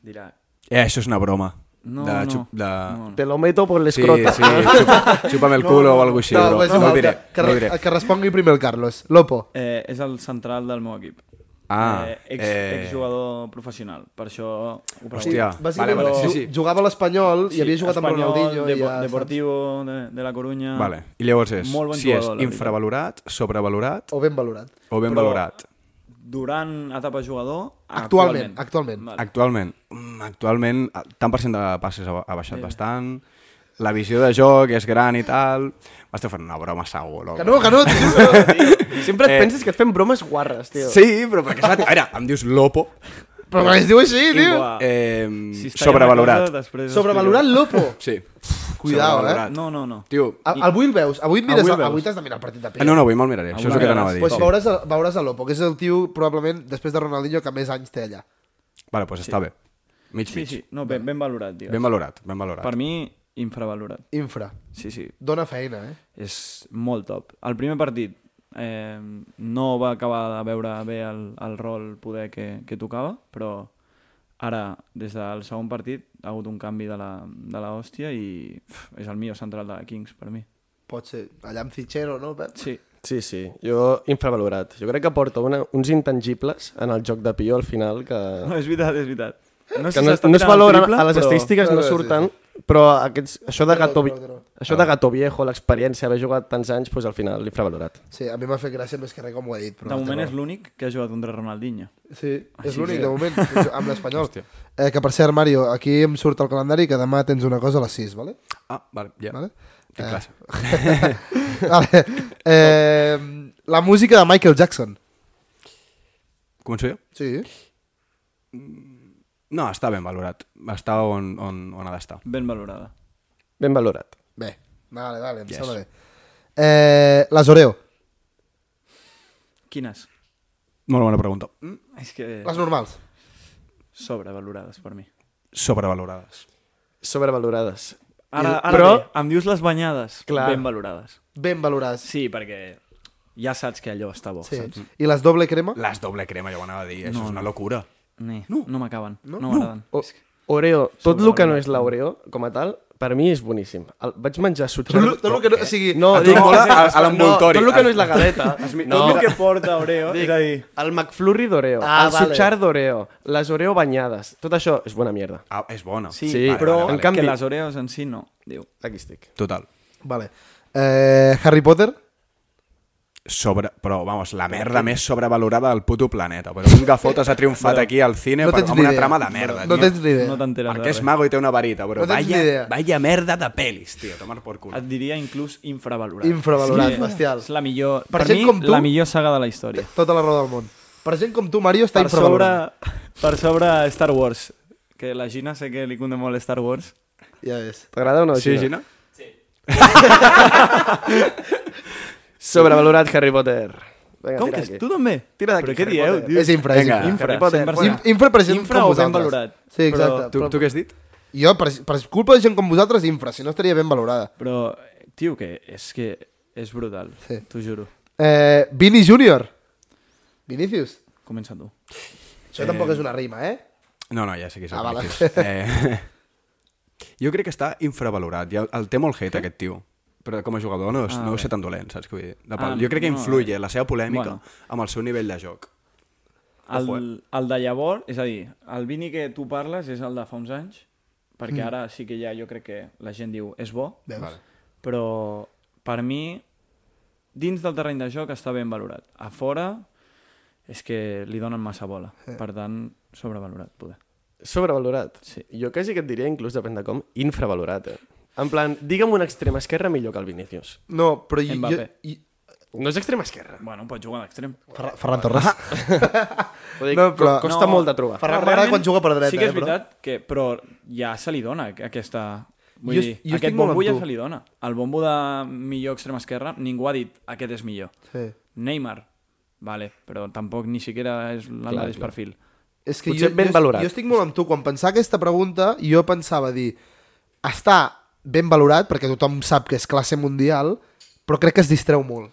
Dirà... Eh, això és una broma. No, de, no. xup- de... No, no. Te lo meto Sí, por l'escrota. sí, xup, xupa'm el culo o alguna cosa així, no, bro. és igual, ho diré, que, que, no ho diré. que respongui primer el Carlos. Lopo. Eh, és el central del meu equip. Ah, eh, ex, eh. exjugador professional. Per això ho pregunto. Hòstia, vale, Bàsicament, vale, ju- sí, sí. jugava a l'Espanyol i havia jugat amb Espanyol, Ronaldinho. i Depo ja, Deportivo de, de la Corunya. Vale. I llavors és, Molt bon si és jugador, la veritat. infravalorat, sobrevalorat Saps? O ben valorat. o ben Però- valorat. Durant etapa jugador... Actualment, actualment. Vale. Actualment, mm, actualment el tant percent de passes ha, ha baixat bastant, la visió de joc és gran i tal... M'esteu fent una broma segur, loco. Que no, que no, tio. Sempre et Eh. penses que et fem bromes guarres, tio. Sí, però perquè... és la- A veure, em dius lopo, però que es diu així, tio. Buah. eh, Ah. Si està sobrevalorat. ja una cosa, després Sobrevalorat explico. Lopo. Sí. Cuidao, eh. Ah, Sobrevalorat. No, no, no. Tio, A- Avui el veus, avui, et mires, Avui avui, el veus. avui t'has de mirar el partit de Ah, Pere. no, no, avui me'l miraré, això és el que t'anava a dir. Pues sí. veuràs, el- veuràs a Lopo, que és el tio, probablement, després de Ronaldinho, que més anys té allà. Vale, pues doncs està bé. Mig, Sí, mig. sí, no, ben, ben valorat, digues. Ben valorat, ben valorat. Per mi, infravalorat. Infra. Sí, sí, Dóna feina, eh? és molt top. El primer partit eh, no va acabar de veure bé el, el rol poder que, que tocava, però ara, des del segon partit, ha hagut un canvi de la, de la hòstia i pf, és el millor central de la Kings, per mi. Pot ser allà amb Cicero, no, Pep? Sí, Sí, sí, jo infravalorat. Jo crec que porta una, uns intangibles en el joc de Pio al final que, no, és veritat, és veritat. No, sé que si no, s'està no tirant es el valoren, triple, a les però- estadístiques no Però- surten, però aquests, això de gato, vi- no, no. això de gato viejo, l'experiència, haver jugat tants anys, doncs al final l'infravalorat. Sí, a mi m'ha fet gràcia més que res com ho he dit. Però De no té moment és raó. l'únic que ha jugat contra Ronaldinho. Sí, és Així l'únic, que- de moment, amb l'Espanyol. Eh, que per cert, Mario, aquí em surt el calendari que demà tens una cosa a les 6, vale? Ah, vale, ja. Vale. Eh. Tinc classe. vale. Eh, la música de Michael Jackson. Començo jo? Sí. No, està ben valorat. Està on, on, on ha d'estar. Ben valorada. Ben valorat. Bé, vale, vale, em Yes. sembla bé. Eh, les Oreo, Quines? Molt bona pregunta. Mm, És que les normals. sobrevalorades per mi. Sobrevalorades. Sobrevalorades. Ara, I- ara Eh, però- però... bé, em dius les banyades Clar. ben valorades. Ben valorades. Sí, perquè ja saps que allò està bo, Sí. saps? I les doble crema? Les doble crema, jo ho anava a dir. Això no, és una locura. Ni, No. Eh, no. no m'acaben, no, No. no m'agraden. O, Oreo, tot el que no és l'Oreo, com a tal, per mi és boníssim. El, vaig menjar Tot lo- sutxero... tot lo que no, o sigui, No, A tu et mola a- a l'envoltori. No, tot el que no és la galeta. No. Oh. no, Tot el que porta Oreo, dic, és a dir... el McFlurry d'Oreo, Ah, el vale. sutxar d'Oreo, les Oreo banyades, tot això és bona mierda. Ah, és bona. Sí, Sí, sí però vale, vale, vale. vale. En canvi- que les Oreos en si no, diu. Aquí estic. Total. Vale. Eh, Harry Potter? Sobre, però, vamos, la merda més sobrevalorada del puto planeta. Però un gafotes ha triomfat aquí al cine No per, tens amb ni una idea. trama de merda, No tio. tens ni idea. No t'enteres de Perquè és res. mago i té una varita, però No tens ni vaya, idea. vaya merda de pelis, tio. Tomar por culo. Et diria inclús infravalorat. Infravalorat, Sí, bestial. És la millor... Per Per, gent mi, com tu- la millor saga de la història. Tota la raó del món. Per gent com tu, Mario, està Per sobre, infravalorat. per sobre Star Wars, que la Gina sé que li conde molt Star Wars. Ja ves. T'agrada o no? Sí, Gina? Gina? Sobrevalorat Harry Potter. Vinga, Com tira que aquí. tu també? Tira d'aquí, Però què Harry dieu, Potter. tio? És infra, és Vinga. infra. Infra, Potter. 100%. Infra, infra present Infra com o ben vosaltres. valorat. Sí, exacte. Però- Tu, tu què has dit? Jo, per, per culpa de gent com vosaltres, infra, si no estaria ben valorada. Però, tio, que és que és brutal, Sí. t'ho juro. Eh, Vini Júnior. Vinicius. Comença tu. Això tampoc és una rima, eh? No, no, ja sé qui és el Ah, vale. Vinicius. Eh, jo crec que està infravalorat. Ja el, el té molt hate, aquest tio. Però com a jugador no, és, no deu ser tan dolent, saps? què Vull dir? De pal. Ah, jo crec que no, influye la seva polèmica Bueno. amb el seu nivell de joc. El, Ojo, el de llavors, és a dir, el Vini que tu parles és el de fa uns anys, perquè mm. ara sí que ja jo crec que la gent diu és bo, Veus? Vale. però per mi, dins del terreny de joc està ben valorat. A fora és que li donen massa bola, per tant, sobrevalorat, poder. Sobrevalorat. Sí. Jo quasi que et diria, inclús depèn de com, infravalorat. Eh? En plan, digue'm un extrem esquerre millor que el Vinícius. No, però... Jo, jo, Mbappé. i- No és extrem esquerra. Bueno, pues pot jugar a l'extrem. Ferran, Ferran Torres. Ah. Vull dir, No, no, però- però... no. Costa no. molt de trobar. Ferran No, m'agrada realment quan juga per dreta, Sí que eh, és però- veritat, que, però ja se li dona aqu- aquesta... Vull jo, Jo es- dir, jo estic aquest molt amb bombo ja tu. se li dona. El bombo de millor extrem esquerra, ningú ha dit aquest és millor. Sí. Neymar, vale, però tampoc ni siquiera és el mateix perfil. És que Potser jo, ben jo, valorat. Jo estic molt amb tu. Quan pensava aquesta pregunta, jo pensava dir... Està ben valorat, perquè tothom sap que és classe mundial, però crec que es distreu molt.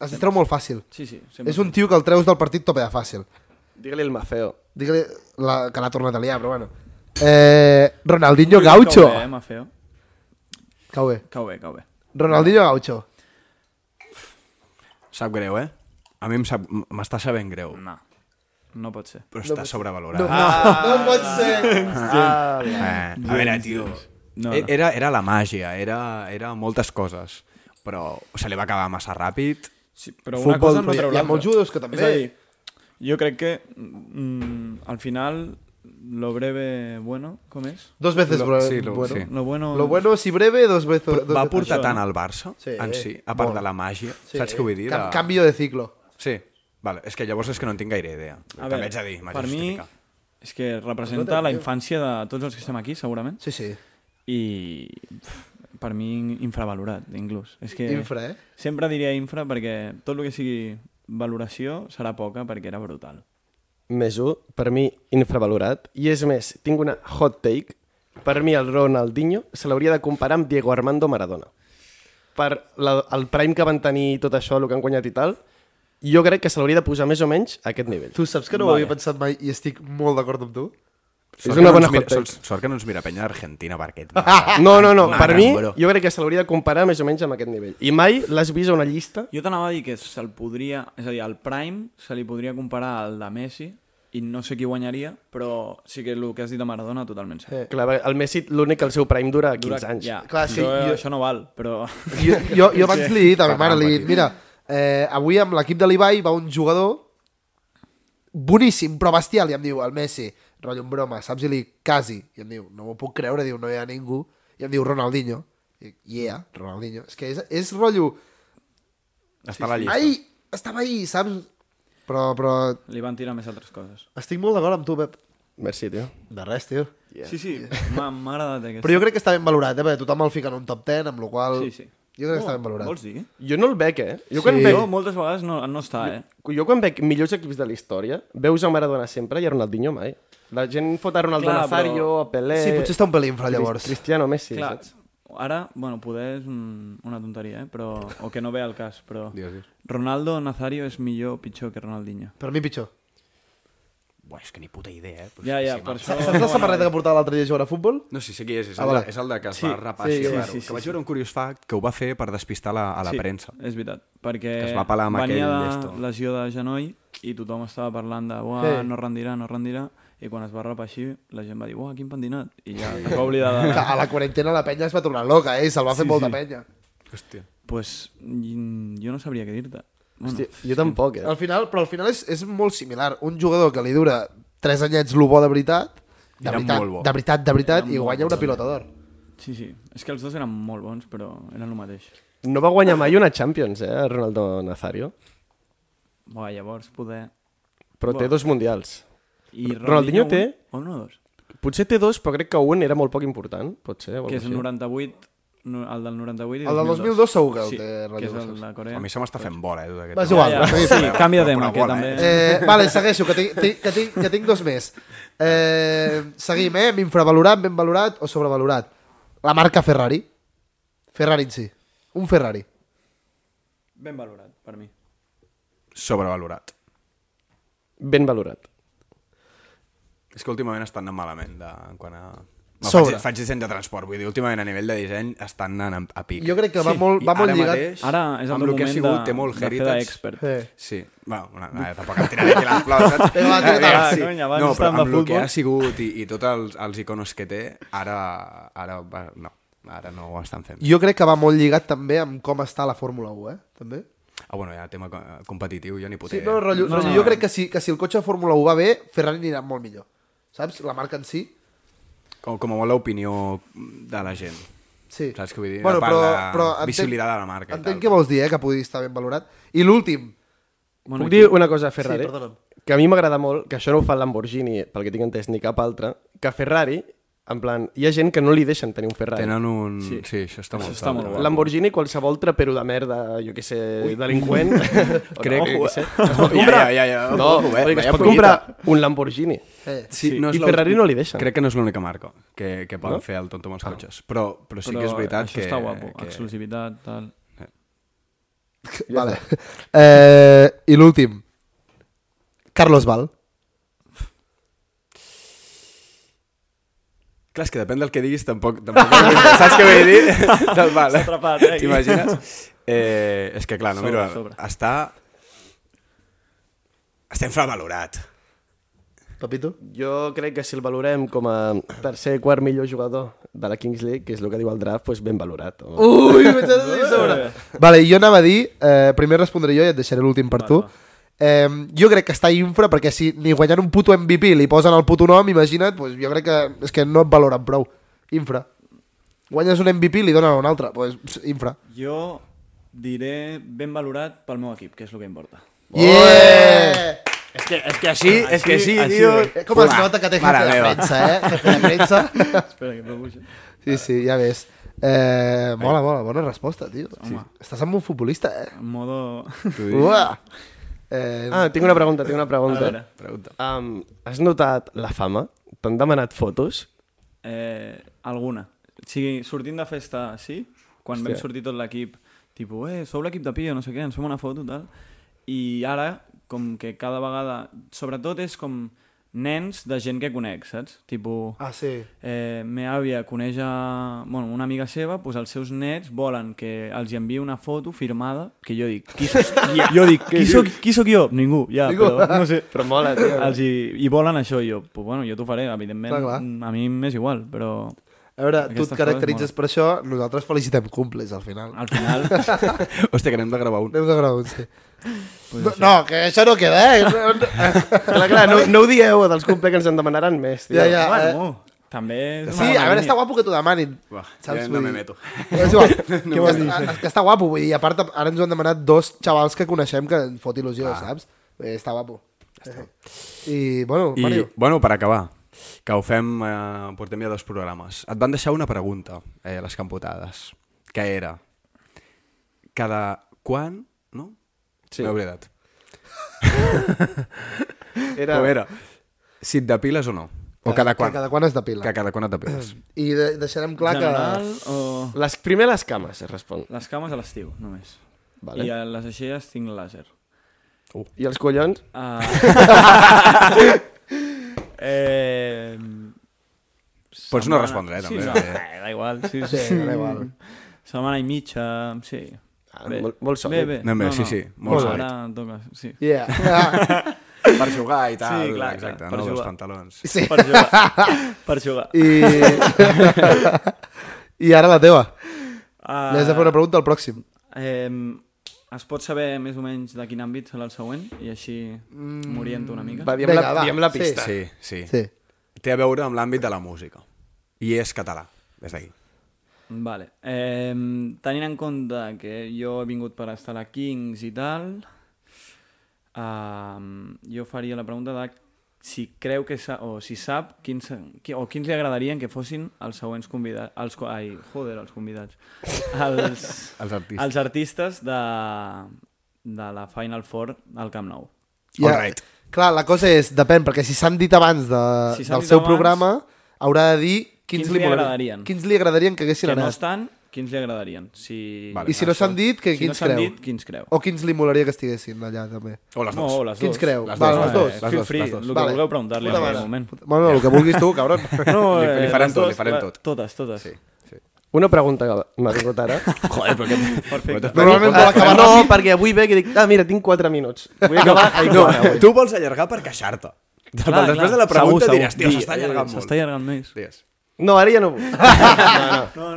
Es distreu molt fàcil. Sí, sí. sempre. És un tio que el treus del partit tope de fàcil. Digue-li el Mafeo. Digue-li la, que l'ha tornat a liar, però bueno. Eh, Ronaldinho Gaucho. Cau bé, eh, Mafeo? Cau bé. Cau bé, cau bé. Ronaldinho Gaucho. Sap greu, eh? A mi em sap... m- m'està sabent greu. No, no pot ser. Però està sobrevalorat. Ah, No, Ah. no, no pot ser. Ah, Eh, a veure, tio... No, No, no. Era, era la màgia, era, era moltes coses. Però se li va acabar massa ràpid. Sí, però Futbol, una cosa però no hi ha- treu hi ha l'altra. molts jugadors que també. És a dir, jo crec que mm, al final lo breve bueno, com és? Dos veces Lo- lo, sí, lo- lo, bueno. sí. Lo bueno... Lo bueno, si breve, dos veces. Dos Va veces. aportar tant al Barça, Sí, sí, en si, a part de la màgia. Sí, saps què vull dir? Cam De- Canvio de ciclo. Sí, vale. És que llavors és que no en tinc gaire idea. A També veure, haig de dir, m'haig de per mi justificar. és que representa la infància de tots els que estem aquí, segurament, Sí, sí. i pf, per mi in- infravalorat, inclús. És que Infra, eh? Sempre diria infra perquè tot el que sigui valoració serà poca perquè era brutal. Més un, per mi, infravalorat. I és més, tinc una hot take. Per mi, el Ronaldinho se l'hauria de comparar amb Diego Armando Maradona. Per la, el prime que van tenir i tot això, el que han guanyat i tal, jo crec que se l'hauria de posar més o menys a aquest nivell. Tu saps que no ho havia pensat mai i estic molt d'acord amb tu? És una bona hot sort, take. sort que no ens mira penya d'Argentina per aquest. No, no, no. Mare, Per mi, bro. jo crec que se l'hauria de comparar més o menys amb aquest nivell. I mai l'has vist a una llista Jo t'anava a dir que se'l podria... És a dir, al Prime se li podria comparar al de Messi i no sé qui guanyaria, però sí que el que has dit de Maradona totalment cert. Clar, el Messi, l'únic que el seu prime dura 15 Dura- Eh, anys. Ja, Clar, sí, jo, jo- jo... això no val, però... Jo, jo, jo abans li he dit a ma mare, Caramba, li he dit, tio. mira, eh, avui amb l'equip de l'Ibai va un jugador boníssim, però bestial, i em diu, el Messi, rotllo en broma, saps? I li, dic, quasi. I em diu, no m'ho puc creure, diu, no hi ha ningú. I em diu, Ronaldinho. I dic, yeah, Ronaldinho. És que és, és rotllo, Està a la llista. ai, estava ahí, saps? Però, però Li van tirar més altres coses. estic molt d'acord amb tu, Pep. Merci, tio. De res, tio. Yeah. Sí, sí, m'ha m'ha agradat aquest. Però jo crec que està ben valorat, eh? Perquè tothom el fica en un top 10, amb la qual Sí, sí. Jo crec que està Oh, ben valorat. Vols dir? Jo no el veig, eh? Jo quan, Sí. sí. Jo veig, moltes vegades no, no està, eh? jo quan veig millors equips de la història, veus a Maradona sempre i a Ronaldinho mai. La gent fot a Ronaldo Clar, Clar, Nazario, però- a Pelé... Eh, Sí, potser està un pel infra, llavors. Cris- Cristiano, Messi, Clar, saps? ara, bueno, poder és un, una tonteria, eh? Però, o que no ve al cas, però... Dios, Dios. Ronaldo Nazario és millor o pitjor que Ronaldinho. Per mi, pitjor. Buah, és que ni puta idea, eh? Però Ja, sí, ja, sí, per mames. això... Saps la samarreta que portava l'altre dia a jugar a futbol? No, sí, sé qui és. És, Ah, el, vale. de- és el de que es Sí, va rapar sí, així. sí, raro. sí, sí, que vaig sí. veure un curiós fact que ho va fer per despistar la, a la premsa. És veritat, perquè Que es va pelar amb venia aquell de esto. lesió de genoll i tothom estava parlant de uah, Sí. no rendirà, no rendirà, i quan es va rapar així, la gent va dir, uah, quin pentinat, i ja es va oblidar Ah. de... Que a la quarantena la penya es va tornar loca, eh? I se'l va fer Sí, molt de sí. penya. Hòstia. pues, mm, jo no sabria què dir-te. Bueno, Hòstia, jo tampoc, eh? Al final, però al final és, és molt similar. Un jugador que li dura 3 anyets lo bo de veritat, de Era veritat, molt bo. de veritat, de veritat, i guanya una pilota d'or. Sí, sí, és que els dos eren molt bons, però eren el mateix. No va guanyar mai una Champions, eh, Ronaldo Nazario. Buah, llavors, poder... Però té dos mundials. I Ronaldinho té- un- Un o dos? Potser té dos, però crec que un era molt poc important, potser. o que és el alguna cosa 98, no, el del 98 i El del 2002 segur que el té que Rayo és el Vallecano. de A Corea. mi se m'està fent bola, eh, tot aquest Va, és tema. igual. Ja, ja. seguim. Sí, canvia de Però tema, una que bola, també... Eh, vale, segueixo, que tinc, tinc, que tinc, que tinc dos més. Eh, seguim, eh? Infravalorat, ben valorat o sobrevalorat? La marca Ferrari. Ferrari en si. Un Ferrari. Ben valorat, per mi. Sobrevalorat. Ben valorat. És que últimament estan anant malament de, quan a... No, Sobre. faig, faig disseny de transport, vull dir, últimament a nivell de disseny estan anant a, a pic. Jo crec que va molt- I va molt ara lligat- Mateix, Ara és el amb teu que ha moment sigut, de- té molt de fer heritage. d'expert. Eh. Sí, va, una, no, tampoc em tiraré aquí les flors, saps? Vinga, va, tira-te Eh, la. sí. Conya, abans No, però estàvem amb de el que futbol. ha sigut i, i tots els, els icones que té, ara, ara va, no, ara no ho estan fent. Jo crec que va molt lligat també amb com està la Fórmula 1, eh? També. Ah, bueno, ja tema co- competitiu, jo ni Sí, poder. no, rotllo, No, no, rotllo, no. jo crec que si, que si el cotxe de Fórmula 1 va bé, Ferrari anirà molt millor. Saps? La marca en si. Com, com a molt l'opinió de la gent. Sí. Saps què vull dir? A part de visibilitat de la marca i Entenc tal, què però- vols dir, eh? Que pugui estar ben valorat. I l'últim. Bueno, Puc i dir tu- una cosa a Ferrari? Sí, perdona'm. Que a mi m'agrada molt, que això no ho fa el Lamborghini, pel que tinc entès, ni cap altre, que Ferrari, en plan, hi ha gent que no li deixen tenir un Ferrari. Tenen un... Sí, Sí. sí això està molt... Això està molt guapo. guapo. Lamborghini, qualsevol trapero de merda, jo què sé, delinqüent... Crec que... que- sé. Es pot Ja, comprar... ja, ja, ja. No, Ojo, eh, vull dir que vaya es pot pollita. comprar un Lamborghini. Eh. Sí, no és I la- Ferrari no li deixen. Crec que no és l'única marca que, que poden no? fer el tonto amb els cotxes. Però, però sí però que és veritat això que... està guapo, que... exclusivitat, tal... vale. Eh, I l'últim. Carlos Val. Clar, és que depèn del que diguis, tampoc... tampoc saps què vull dir? Del mal. eh? atrapat, eh, aquí. T'imagines? Eh, és que clar, no, Sobre, mira, sobre. està... Està infravalorat. Papito? Jo crec que si el valorem com a tercer, quart millor jugador de la Kings League, que és el que diu el draft, doncs ben valorat. Uh. home. Ui, m'he de dir sobre. Vale, jo anava a dir, eh, primer respondré jo i et deixaré l'últim per tu. Eh, jo crec que està infra perquè si ni guanyant un puto MVP li posen el puto nom, imagina't, doncs jo crec que és que no et valoren prou. Infra. Guanyes un MVP li donen un altre, doncs infra. Jo diré ben valorat pel meu equip, que és el que importa. Yeah! És que, és que així, és que sí, així, tio. eh? Com es nota que té jefe Mare de meva. premsa, eh? Jefe de premsa. Espera, que probuixi. Sí, sí, ja ves. Eh, mola, mola, bona resposta, tio. Sí. Estàs amb un futbolista, eh? En modo... T'ho dic. Uah! Eh, Ah, tinc una pregunta, tinc una A pregunta. veure, Pregunta. Um, has notat la fama? T'han demanat fotos? eh, alguna. O sigui, sortint de festa, sí, quan vam Hòstia. sortir tot l'equip, tipus, eh, sou l'equip de Pio, no sé què, ens fem una foto, tal. I ara, com que cada vegada... Sobretot és com nens de gent que conec, saps? Tipo, ah, sí. eh, me àvia coneix a, bueno, una amiga seva, doncs els seus nets volen que els hi enviï una foto firmada, que jo dic, qui soc, jo dic, qui soc, qui soc jo? Ningú, ja, Ningú. però no sé. Però mola, tio. Els hi, I volen això, i jo, pues, bueno, jo t'ho faré, evidentment, Mm, Clar, clar. a mi m'és igual, però A veure, tu Aquestes et caracteritzes coses per això, nosaltres felicitem cumples al final. Ah. al final... Hòstia, que n'hem de gravar un. Anem de grau, sí. No, no, que això no queda, eh? No, no. Clar, clar, no, no ho dieu, dels cumple que ens en demanaran més, tio. Ja, ja. eh. bueno, també... és Sí, una a veure, línia. està guapo que t'ho demanin. Va, saps? ja Vull no me dir- meto. És igual. que, que, que està guapo, vull dir, a part, ara ens ho han demanat dos xavals que coneixem que en fot il·lusió, Ah. saps? Eh, està guapo. I, bueno, I, Mario, bueno, per acabar, que ho fem, eh, portem ja dos programes. Et van deixar una pregunta, eh, les campotades, que era cada quan, no? Sí. M'he oblidat. Era... Com era? Si et depiles o no? O cada quan? que cada quan es depila. Que cada quan et depiles. I de, deixarem clar General que... o... Les, primer les cames, es respon. Les cames a l'estiu, només. Vale. I a les aixelles tinc làser. I els collons? Ah. eh... Pots no respondre, eh, Sí, també, no, perquè- eh, da igual, sí, sí. Sí, da igual. Setmana i mitja, sí. Ah, molt- molt sòlid. Bé, bé. Anem bé, sí, sí, molt sòlid. Ara toca, sí. Yeah. Ah, Per jugar i tal. Sí, clar, exacte, no? clar, per Els jugar. pantalons. sí. Per jugar. per jugar. I... I ara la teva. Ah. Uh, Li has de fer una pregunta al pròxim. Eh, es pot saber més o menys de quin àmbit serà el següent? I així Mm, m'oriento una mica. Va, diem, Vinga, la, va, diem la sí. pista. Sí, sí, Sí. Té a veure amb l'àmbit de la música. I és català, des d'aquí. Vale. Eh, tenint en compte que jo he vingut per estar a la Kings i tal, eh, jo faria la pregunta de si creu que sa, o si sap quins, qui- o quins li agradarien que fossin els següents convidats els, co- ai, joder, els convidats els, Els artistes. els artistes de, de la Final Four al Camp Nou Ja, Alright. Clar, la cosa és, depèn, perquè si s'han dit abans de, Si s'han del dit seu abans, programa, haurà de dir quins, quins li, li molarien- agradarien. Quins li agradarien que haguessin que no anat. estan, quins li agradarien si, Vale. I si no s'han dit, que si no quins s'han creu. dit, quins creu O quins li molaria que estiguessin allà, també. O les no, dues. o les Quins dues. creu? Les Val, dues, les dues. les feel dues, free, les dues. el que Vale. vulgueu preguntar-li en Puta aquell mare. moment Bueno, el que vulguis tu, cabron. no, Li- li eh, farem les tot, li dues, farem clar, tot. totes, totes sí. Una pregunta que m'ha vingut ara. Joder, però què... Perfecte. Normalment vol acabar no, ràpid. perquè avui ve que dic, ah, mira, tinc 4 minuts. Vull acabar a No, igual avui. tu vols allargar per queixar-te. Clar, després de la pregunta segur, diràs, tio, s'està allargant molt. eh, S'està allargant més. Digues. No, ara ja no vull. No,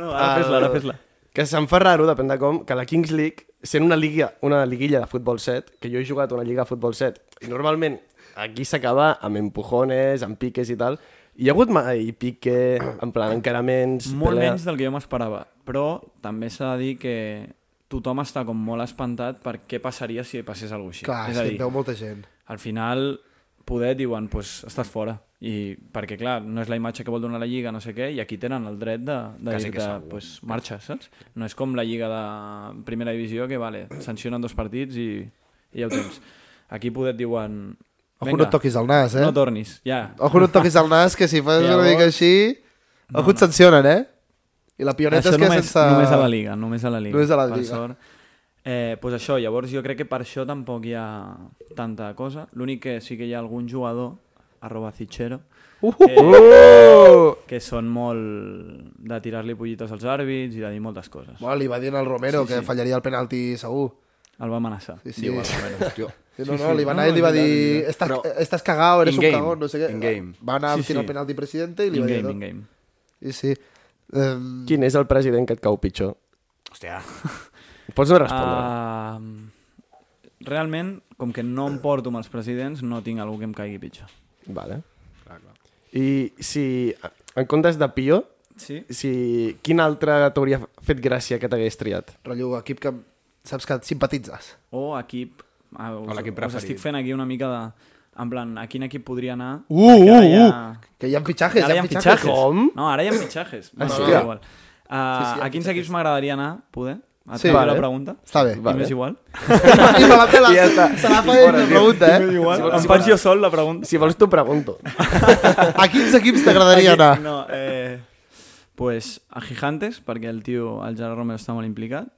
No, no. no, ara fes-la, ara El- fes-la. Que se'm fa raro, depèn de com, que la Kings League, sent una, lliga, una liguilla de futbol set, que jo he jugat a una lliga de futbol set, i normalment aquí s'acaba amb empujones, amb piques i tal, hi ha hagut mai pique, en plan, encaraments... Molt pelea? menys del que jo m'esperava, però també s'ha de dir que tothom està com molt espantat per què passaria si passés alguna cosa així. és Clar, és a que dir, veu molta gent. al final poder diuen, pues, estàs fora. I, perquè, clar, no és la imatge que vol donar la Lliga, no sé què, i aquí tenen el dret de, de Quasi que dir-te, segur. pues, marxa, saps? No és com la Lliga de Primera Divisió, que, vale, sancionen dos partits i, i ja ho tens. Aquí poder et diuen... Ojo, no et toquis el nas, eh? No tornis, ja. Ojo, no et toquis el nas, que si fas una Llavors- mica així... Ojo, et sancionen, eh? I la pioneta Això és que només, sense... només a la Liga, només a la Liga. Només a la per Liga. Sort. Eh, pues això, llavors jo crec que per això tampoc hi ha tanta cosa. L'únic que sí que hi ha algun jugador, arroba Cicero, Uh! eh, que són molt de tirar-li pollites als àrbits i de dir moltes coses. Bueno, li va dir al Romero que fallaria el penalti segur. El va amenaçar. Sí, sí. Diu el Romero. Sí, no, no, li va anar i li va dir estás, Però- estás cagado, eres un In-game, cagón, no sé què. in-game. Va anar Sí, sí, sí. el sí. penalti presidente i li va dir... In-game, tot. in-game. Sí, sí. Um, Quin és el president que et cau pitjor? Hòstia. Pots no respondre. Ah, realment, com que no em porto amb els presidents, no tinc algú que em caigui pitjor. Vale. I si, en comptes de Pio, Sí? si, quin altre t'hauria fet gràcia que t'hagués triat? rotllo, equip que saps que et simpatitzes. o equip... Ah, us, O l'equip us preferit. estic fent aquí una mica de... En plan, a quin equip podria anar? Uh, Perquè ara uh, hi ha- Que hi ha fitxajes, Ara hi ha fitxajes. Com? No, ara hi ha fitxajes. Bueno, Hòstia. no, igual. Uh, sí, hi ha a quins equips m'agradaria anar, poder? Et Sí. sí, vale. Vale. la pregunta? Està bé. Eh? Vale. I m'és igual? I me la pela. I ja està. Se la fa ell la pregunta, eh? igual. Em faig jo sol la pregunta. Si vols t'ho pregunto. A quins equips t'agradaria anar? No, eh... Pues a Gigantes, perquè el tio, el Gerard Romero està molt implicat,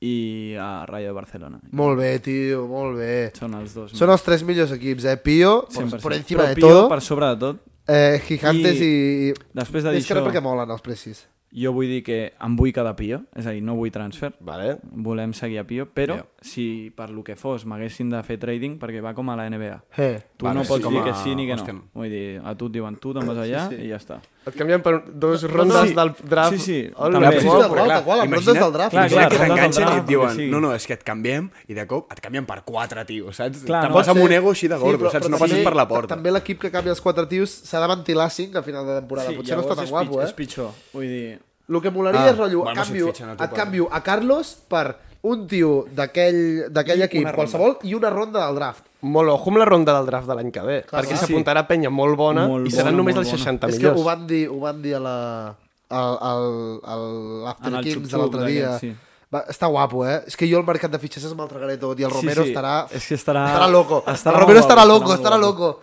i a Rayo de Barcelona. Molt bé, tio, molt bé. Són els dos. Són els tres millors equips, eh? Pio, por, 100%. por encima Però de Pio, todo. Per sobre de tot, Eh, gigantes i... I- i... després de dir És que no això- perquè molen els precis. jo vull dir que em vull quedar Pio, és a dir, no vull transfer, Vale. volem seguir a Pio, però Ja. yeah. si per lo que fos m'haguessin de fer trading, perquè va com a la NBA. Eh. Tu Vale, vale, no sí, pots com dir a- que sí ni que no. hòstia. Vull dir, a tu et diuen tu, te'n vas allà sí, sí. i ja està. Et canviem per dos rondes sí. del draft. Sí, sí. All També. right. Sí, Molt, tal qual, tal qual, amb rondes del draft. clar, imagina clar, que rondes del t'enganxen i draft, et diuen, el que sigui. no, no, és que et canviem, i de cop et canvien per quatre, tio, saps? Clar, Te'n no. vas amb Sí. un ego així de gordo, però- saps? però No passes també- per la porta. També l'equip que canvia els quatre tios s'ha de ventilar cinc a final de temporada. Potser no està tan és, guapo, pitjor, eh? és pitjor. Vull dir, El que molaria Ah, és, rotllo, bueno, si et canvio, fitxen a tu et per- canvio a Carlos per un tio d'aquell d'aquell equip qualsevol i una ronda del draft. Molt ojo amb la ronda del draft de l'any que ve, clar, perquè clar. s'apuntarà penya molt bona Molt i seran bona, només molt els bona. 60 És que millors. ho van dir, ho van dir a la... al, al, al En l'After el Kings de xup-xup l'altre d'aquell, dia. sí. Va, està guapo, eh? És que jo el mercat de fitxers me'l tragaré tot i el Romero estarà... És que estarà... Estarà loco. estarà el Romero molt estarà guapo, loco, estarà molt guapo. loco.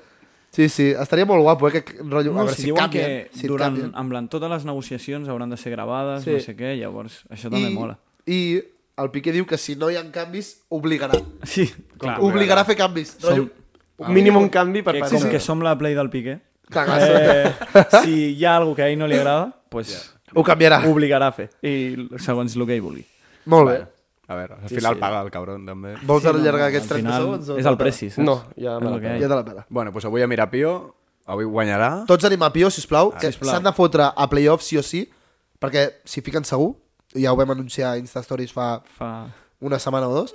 Sí, sí, estaria molt guapo, eh? Que, rotllo, a No, veure si, si, diuen que canvien. Si durant, canvien. en plan, totes les negociacions hauran de ser gravades, Sí. no sé què, llavors això també mola. I el Piqué diu que si no hi ha canvis, obligarà. Sí, clar. obligarà a fer canvis. Som... Un mínim un canvi per Que, part com que que... som la play del Piqué, Eh... eh, si hi ha alguna que a ell no li agrada, pues, Ho canviarà. ho obligarà a fer, i segons el que ell vulgui. Molt bé. A veure, al final paga el cabron, també. Vols allargar aquests 30 final, segons? o És no? el preci, saps? No, ja És me la el que pela. hi Ja ha. te la pela. Bueno, doncs avui a mirar Pio, avui guanyarà. Tots anem a Pio, sisplau, que sisplau. s'han de fotre a playoff sí o sí, perquè s'hi fiquen segur, ja ho vam anunciar a Insta Stories fa Fa... una setmana o dos.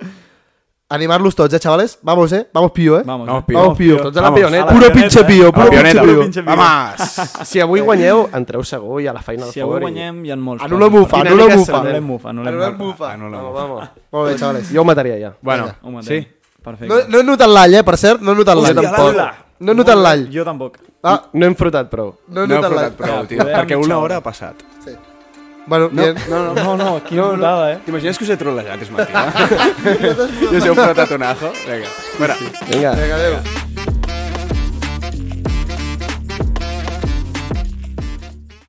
Animar-los tots, eh, chavales? Vamos, eh? Vamos, Pio, eh? Vamos, Vamos, eh? Pio. Vamos, Pío. Tots a la Vamos. pioneta. Puro pioneta, pinche eh? Pío, puro A la pinche pioneta. Pío. Vamos! Si avui guanyeu, entreu segur i a la Final Si Four. avui i- guanyem, hi ha molts... Anul·la passos. Mufa, Quina anul·la mica Mufa. Anul·lem Mufa, anul·lem Anul·la Mufa. Mufa. Anul·la. Vamos, vamos. Molt bé, chavales. Jo ho mataria ja. Ah, Bueno, Ho matem. sí. Perfecte. No, no he notat l'all, eh, per cert, no he notat l'all. Hòstia, l'all. No he notat l'all. Jo tampoc. Ah, No hem frotat prou. no he No he notat frotat l'all. prou, Ja, tio, podem perquè una xau. hora ha passat. Bueno, No, bien. no, no. No, no, quina no, putada, eh? T'imagines que us he trolejat, és mentida? jo us heu frotat un ajo? Vinga, fora. Vinga. Vinga, adéu.